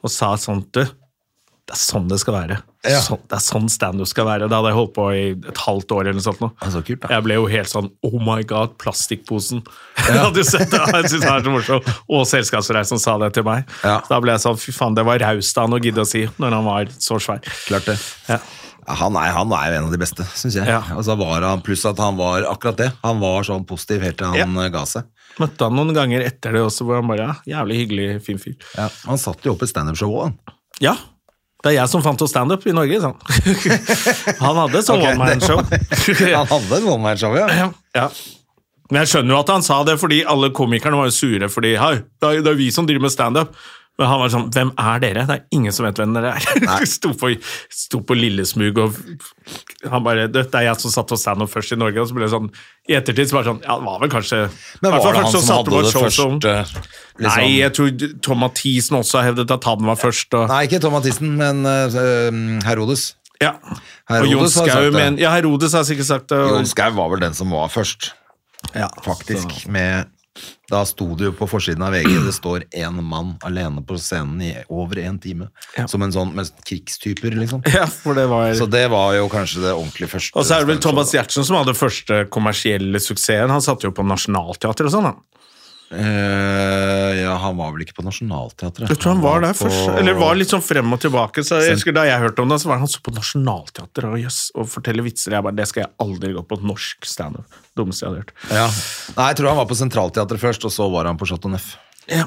S1: og sa sånn Du, det er sånn det skal være.
S2: Ja.
S1: Sånn, det er sånn standup skal være. Da hadde jeg holdt på i et halvt år eller noe sånt. nå.
S2: Ja, så kult, da.
S1: Jeg ble jo helt sånn Oh my God, plastikkposen. Jeg hadde jo sett det, jeg synes det er så morsomt. Og selskapsreisen sa det til meg.
S2: Ja.
S1: Så Da ble jeg sånn Fy faen, det var raust av han å gidde å si når han var så svær.
S2: Klart det.
S1: Ja.
S2: Ja, han, er, han er jo en av de beste, syns jeg.
S1: Ja.
S2: Og så var han, Pluss at han var akkurat det. Han var sånn positiv helt til han eh, ga seg.
S1: Møtte han noen ganger etter det også, hvor han bare ja, Jævlig hyggelig, fin fyr.
S2: Ja. Han satt jo opp et standup-show òg, han.
S1: Ja. Det er jeg som fant oss standup i Norge, sa han. Han hadde sånn
S2: Ok,
S1: one man show.
S2: Han hadde et one-man-show, ja.
S1: ja. Men jeg skjønner jo at han sa det, fordi alle komikerne var jo sure fordi Hei, det er, det er vi som driver med standup. Men han var sånn Hvem er dere? Det er ingen som vet hvem dere er. sto, på, sto på Lillesmug og Han bare «Du, Det er jeg som satt på standup først i Norge. Og så ble det sånn I ettertid så var det sånn Ja, det var vel kanskje
S2: Men
S1: hvert fall
S2: var det
S1: først
S2: han som
S1: satte på et
S2: hadde det
S1: show som-
S2: første liksom?
S1: Nei, eh. jeg tror Tom Mathisen også har hevdet at han var først. Og,
S2: Nei, ikke Tom Mathisen, men eh, Herodes.
S1: Ja.
S2: Herodes
S1: og Jon
S2: har sagt
S1: Skau
S2: det.
S1: men, Ja, Herodes har sikkert sagt det. og-
S2: Jon Skau var vel den som var først,
S1: ja,
S2: faktisk.
S1: så-
S2: Med Da sto det jo på forsiden av VG det står en mann alene på scenen i over en time. Som en sånn mest krigstyper, liksom.
S1: Ja, for det var...
S2: Så det var jo kanskje det ordentlig første.
S1: Og så er det vel
S2: standshowet.
S1: Thomas Giertsen som hadde første kommersielle suksessen. Han satte jo på Nationaltheatret og sånn. han.
S2: Eh, ja, han var vel ikke på Nationaltheatret.
S1: Jeg tror han var der først.
S2: på-
S1: Eller var litt sånn frem og tilbake. Så jeg husker Da jeg hørte om det, så var han så på Nationaltheatret og, jøss, og forteller vitser. Jeg bare, Det skal jeg aldri gå på norsk standup. Dummeste jeg hadde hørt.
S2: Ja. Nei, jeg tror han var på Sentralteatret først, og så var han på Chateau Neuf.
S1: Ja,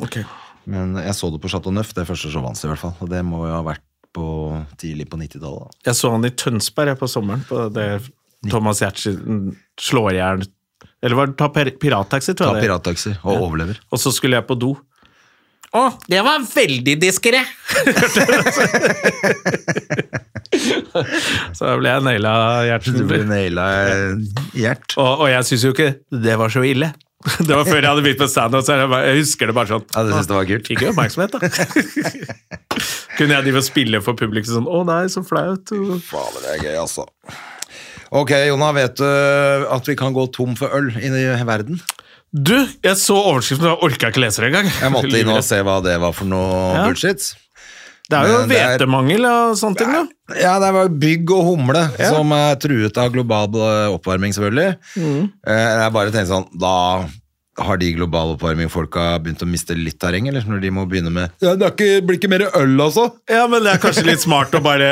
S1: ok.
S2: Men jeg så det på Chateau Neuf, det første showet hans i hvert fall. Og det må jo ha vært på tidlig på 90-tallet. da.
S1: Jeg så han i Tønsberg jeg, på sommeren, på det Thomas Giertsen slår i hjel Eller var det Ta pir- pirattaxi, tror
S2: Ta
S1: jeg. det.
S2: pirattaxi og overlever.
S1: Og så skulle jeg på do. Å, det var veldig diskré! så da ble jeg naila
S2: Du blir
S1: Gjertsen.
S2: naila i hjert.
S1: Og, og jeg syns jo ikke det var så ille. Det var før jeg hadde begynt med standup. så jeg bare- Jeg husker det bare sånn.
S2: Ja, det synes jeg var kult.
S1: Fikk jo oppmerksomhet, da. Kunne jeg drive og spille for publikum sånn Å nei, så flaut. og-
S2: Fader, det er gøy, altså. Ok, Jonna, vet du eh, at vi kan gå tom for øl i verden?
S1: Du, jeg så overskriften, og jeg orka ikke lese det engang.
S2: Jeg måtte inn og se hva det var for noe
S1: Ja.
S2: bullshit.
S1: Det er jo
S2: Men det er-
S1: hvetemangel og sånne ting, da.
S2: Ja, det var bygg og humle som er truet av global eh, oppvarming, selvfølgelig. Eh, Jeg bare tenkte sånn, da har de global oppvarming-folka begynt å miste litt terreng, eller når de må begynne med Ja, det er ikke, blir ikke mer øl, altså!
S1: Ja, men det er kanskje litt smart å bare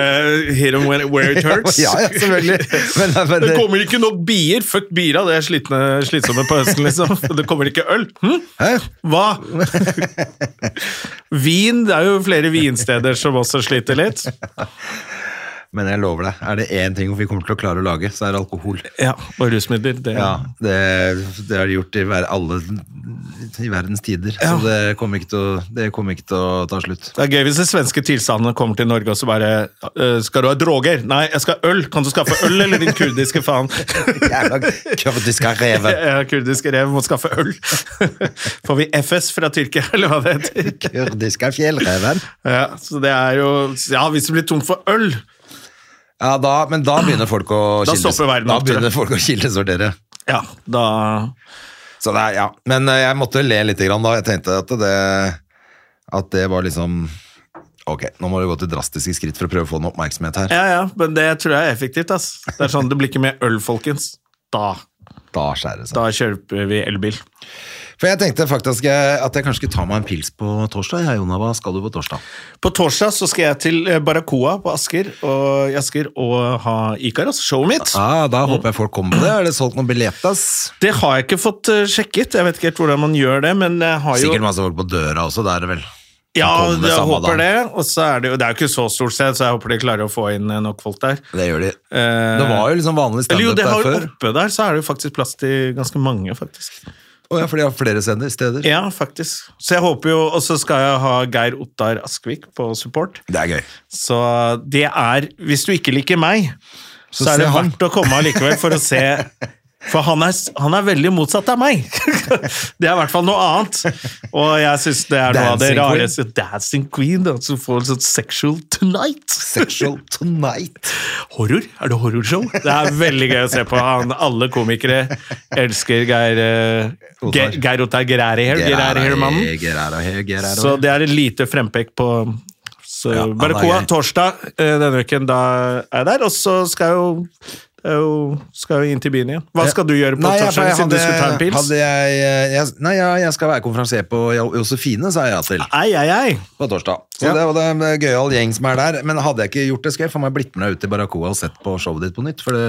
S1: hit them where where it hurts.
S2: Ja, ja, selvfølgelig. Men, men,
S1: Det kommer ikke nok bier. Fuck bier, da. Det er slitne, slitsomme på høsten, liksom. Det kommer ikke øl. Hm?
S2: Hæ?
S1: Hva? Vin. Det er jo flere vinsteder som også sliter litt.
S2: men jeg lover deg, er det én ting vi kommer til å klare å lage, så er det alkohol.
S1: Ja, og rusmidler. Det.
S2: Ja, det, det har de gjort i ver alle i verdens tider, så det kommer ikke til å, det kommer ikke til å ta slutt.
S1: Det er gøy hvis de svenske tilstandene kommer til Norge og så bare eh, Skal du ha droger? Nei, jeg skal ha øl. Kan du skaffe øl, eller din kurdiske faen?
S2: Jævla kurdiske reven!
S1: Ja, kurdiske rev må skaffe øl. Får vi FS fra Tyrkia, eller hva det heter?
S2: Kurdiske fjellreven.
S1: Ja, så det er jo Ja, hvis det blir tomt for øl
S2: Ja, da, men da begynner folk å
S1: Da
S2: kildes-
S1: stopper verden
S2: Da
S1: opp, tror jeg.
S2: begynner folk å kildesortere.
S1: Ja, da
S2: Så det er, ja. Men eh, jeg måtte le litt grann da. Jeg tenkte at det, at det var liksom Ok, nå må du gå til drastiske skritt for å prøve å få noe oppmerksomhet her.
S1: Ja, ja, men det tror jeg er effektivt, ass. Det er sånn, det blir ikke mer øl, folkens. Da,
S2: Da skjærer det seg.
S1: da kjøper vi elbil.
S2: For jeg tenkte faktisk eh, at jeg kanskje skulle ta meg en pils på torsdag. Ja, Jona, hva skal du på torsdag?
S1: På torsdag så skal jeg til eh, Barracoa på Asker og, i Asker og ha Ikaros, showet mitt.
S2: Ah, da håper jeg folk kommer på det. Er det solgt noen billetter? ass?
S1: Det har jeg ikke fått eh, sjekket. Jeg vet ikke helt hvordan man gjør det, men jeg har jo
S2: Sikkert masse folk på døra også, det er det vel.
S1: Ja,
S2: kommer med
S1: jeg
S2: samme
S1: håper
S2: dag.
S1: det. Og så er det jo Det er jo ikke så stort sted, så jeg håper de klarer å få inn eh, nok folk der.
S2: Det gjør de.
S1: Eh,
S2: Det var jo liksom vanlig
S1: Eller jo,
S2: standup
S1: det
S2: der
S1: har jo
S2: før.
S1: oppe der, så er det jo faktisk plass til ganske mange, faktisk.
S2: Å ja, for de har flere sender, steder.
S1: Ja, faktisk. Så jeg håper jo Og så skal jeg ha Geir Ottar Askvik på support.
S2: Det er gøy.
S1: Så det er Hvis du ikke liker meg, så,
S2: se
S1: er det
S2: han.
S1: verdt å komme allikevel for å se For han er, han er veldig motsatt av meg. Det er i hvert fall noe annet. Og jeg syns det er noe av det
S2: Dancing queen.
S1: rareste Dancing queen, da, som får en sånn sexual tonight.
S2: Sexual tonight.
S1: Horror? Er det horrorshow? Det er veldig gøy å se på. Han, alle komikere elsker Geir eh, Ge-
S2: Ottar.
S1: Geir Ottar Gerærihel, Gerærihel-mannen. Så
S2: Gerærahel.
S1: det er et lite frempek på så,
S2: Ja, han er
S1: Barracoa
S2: gøy.
S1: torsdag eh, denne uken. Da er jeg der, og så skal jeg jo, det er jo, skal jeg jo inn til byen igjen. Hva skal du gjøre på
S2: Nei, jeg,
S1: torsdag,
S2: jeg,
S1: siden du skulle ta en
S2: hadde,
S1: pils?
S2: hadde jeg, jeg, nei, jeg, jeg skal være konferansier på Jo- Josefine, sa jeg ja til,
S1: Ei, ei, ei.
S2: på torsdag. Så
S1: Ja.
S2: det var det en eh, gøyal gjeng som er der. Men hadde jeg ikke gjort det, skulle jeg faen meg blitt med deg ut i Barracoa og sett på showet ditt på nytt. For det,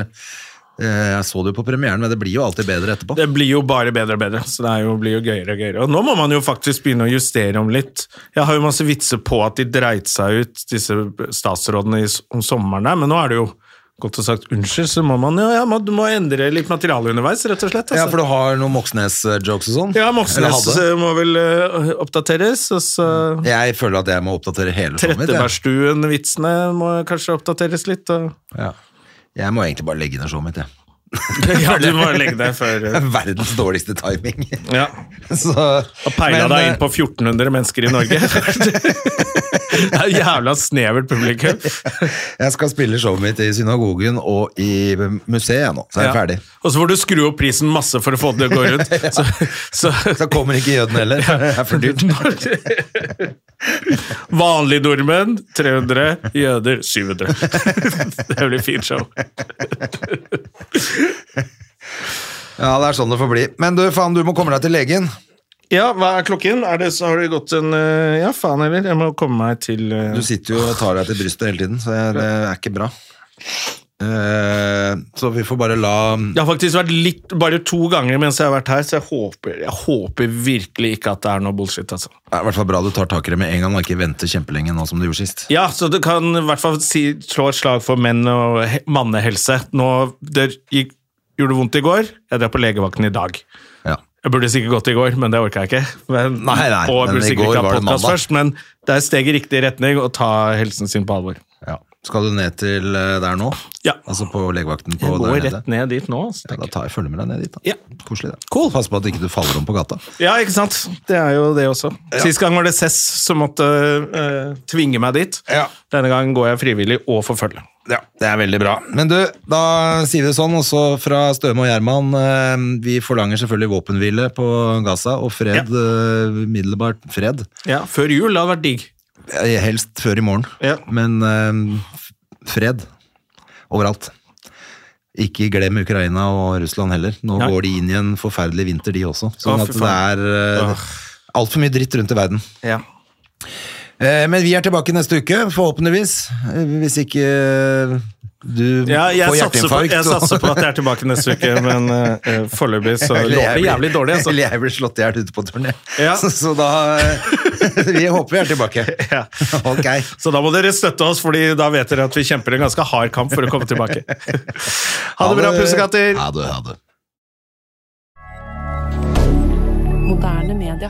S2: eh, jeg så det jo på premieren, men det blir jo alltid bedre etterpå.
S1: Det blir jo bare bedre og bedre, så det er jo, blir jo gøyere og gøyere. Og nå må man jo faktisk begynne å justere om litt. Jeg har jo masse vitser på at de dreit seg ut, disse statsrådene i, s- om sommeren der, men nå er det jo godt og sagt unnskyld, så må man jo ja, man, du må endre litt materiale underveis, rett og slett.
S2: Ja,
S1: altså.
S2: for du har noen Moxnes-jokes og sånn?
S1: Ja,
S2: Eller
S1: Moxnes
S2: hadde.
S1: eh, må vel eh, oppdateres, og så
S2: Jeg føler at jeg må oppdatere hele showet mitt. jeg.
S1: Trettebergstuen-vitsene må kanskje oppdateres litt. Og...
S2: Ja. Jeg må egentlig bare legge ned showet mitt, jeg.
S1: Ja, du må legge deg før eh,
S2: Verdens dårligste timing.
S1: ja.
S2: Så,
S1: Og peila
S2: men,
S1: deg
S2: eh,
S1: inn på 1400 mennesker i Norge. Det er jævla snevert publikum.
S2: eh, Jeg skal spille showet mitt i synagogen og i museet nå, så er jeg
S1: Ja.
S2: ferdig.
S1: Og så får du skru opp prisen masse for å få det til å gå rundt. Så, så,
S2: Så kommer ikke jøden heller. Det er for dyrt.
S1: Vanlige nordmenn 300, jøder 700. Det blir fint show.
S2: Ja, det er sånn det får bli. Men du, faen, du må komme deg til legen.
S1: Ja, hva er klokken? Er det, så har det gått en eh, Ja, faen heller. Jeg må komme meg til eh,
S2: Du sitter jo og tar deg til brystet hele tiden, så jeg- det er ikke bra. Eh, Så vi får bare la
S1: Det har faktisk vært litt, bare to ganger mens jeg har vært her, så jeg håper, jeg håper virkelig ikke at det er noe bullshit. altså.
S2: Det er i hvert fall bra du tar tak i det med en gang og ikke venter kjempelenge nå som du gjorde sist.
S1: Ja, så du kan i hvert fall si, slå et slag for menn og he mannehelse. Nå, Det gikk, gjorde vondt i går, jeg drar på legevakten i dag.
S2: Ja.
S1: Jeg burde sikkert gått i går, men det orka jeg ikke. Men,
S2: Nei, nei,
S1: og jeg
S2: men
S1: burde
S2: i
S1: sikkert
S2: går
S1: ikke
S2: var
S1: ha
S2: det
S1: podcast
S2: mandag.
S1: først, men det er et steg i riktig retning å ta helsen sin på alvor.
S2: Ja. Skal du ned til eh, der nå?
S1: Ja.
S2: Altså på legevakten på
S1: Jeg
S2: der
S1: går
S2: nede?
S1: rett ned dit nå. altså,
S2: Ja,
S1: tenker
S2: da
S1: jeg.
S2: tar jeg følge med deg ned dit, da.
S1: Ja.
S2: Koselig, det. Cool. Pass på at ikke du faller om på gata.
S1: Ja, ikke sant? Det er jo det også. Sist gang var det Cess som måtte eh, tvinge meg dit.
S2: Ja.
S1: Denne gangen går jeg frivillig og forfølger.
S2: Ja, det er veldig bra. Men du, da sier vi det sånn, også fra Støme og Gjerman. eh, Vi forlanger selvfølgelig våpenhvile på Gaza, og fred,
S1: Ja.
S2: eh, middelbart fred.
S1: Ja, før jul hadde vært digg.
S2: Eh, Helst før i morgen,
S1: Ja.
S2: men eh, f- fred overalt. Ikke glem Ukraina og Russland heller. Nå
S1: Nei.
S2: går de inn i en forferdelig vinter, de også. Sånn
S1: Å,
S2: at
S1: fy
S2: det
S1: faen.
S2: er
S1: Åh.
S2: altfor mye dritt rundt i verden.
S1: Ja.
S2: Eh, Men vi er tilbake neste uke, forhåpentligvis. Eh, Hvis ikke eh, du
S1: jeg,
S2: får
S1: satser på,
S2: hjerteinfarkt.
S1: jeg
S2: og-
S1: satser på at jeg er tilbake neste uke, men uh, foreløpig så
S2: Eller
S1: låter
S2: jeg
S1: det
S2: blir-
S1: jævlig dårlig. Altså.
S2: Eller jeg blir slått i hjel ute på turné.
S1: Ja.
S2: Så, så da eh, Vi håper vi er tilbake.
S1: Ja.
S2: Ok.
S1: Så da må dere støtte oss, Fordi da vet dere at vi kjemper en ganske hard kamp for å komme tilbake. Ha det bra, pussekatter!
S2: Ha det, ha det.
S3: Moderne media.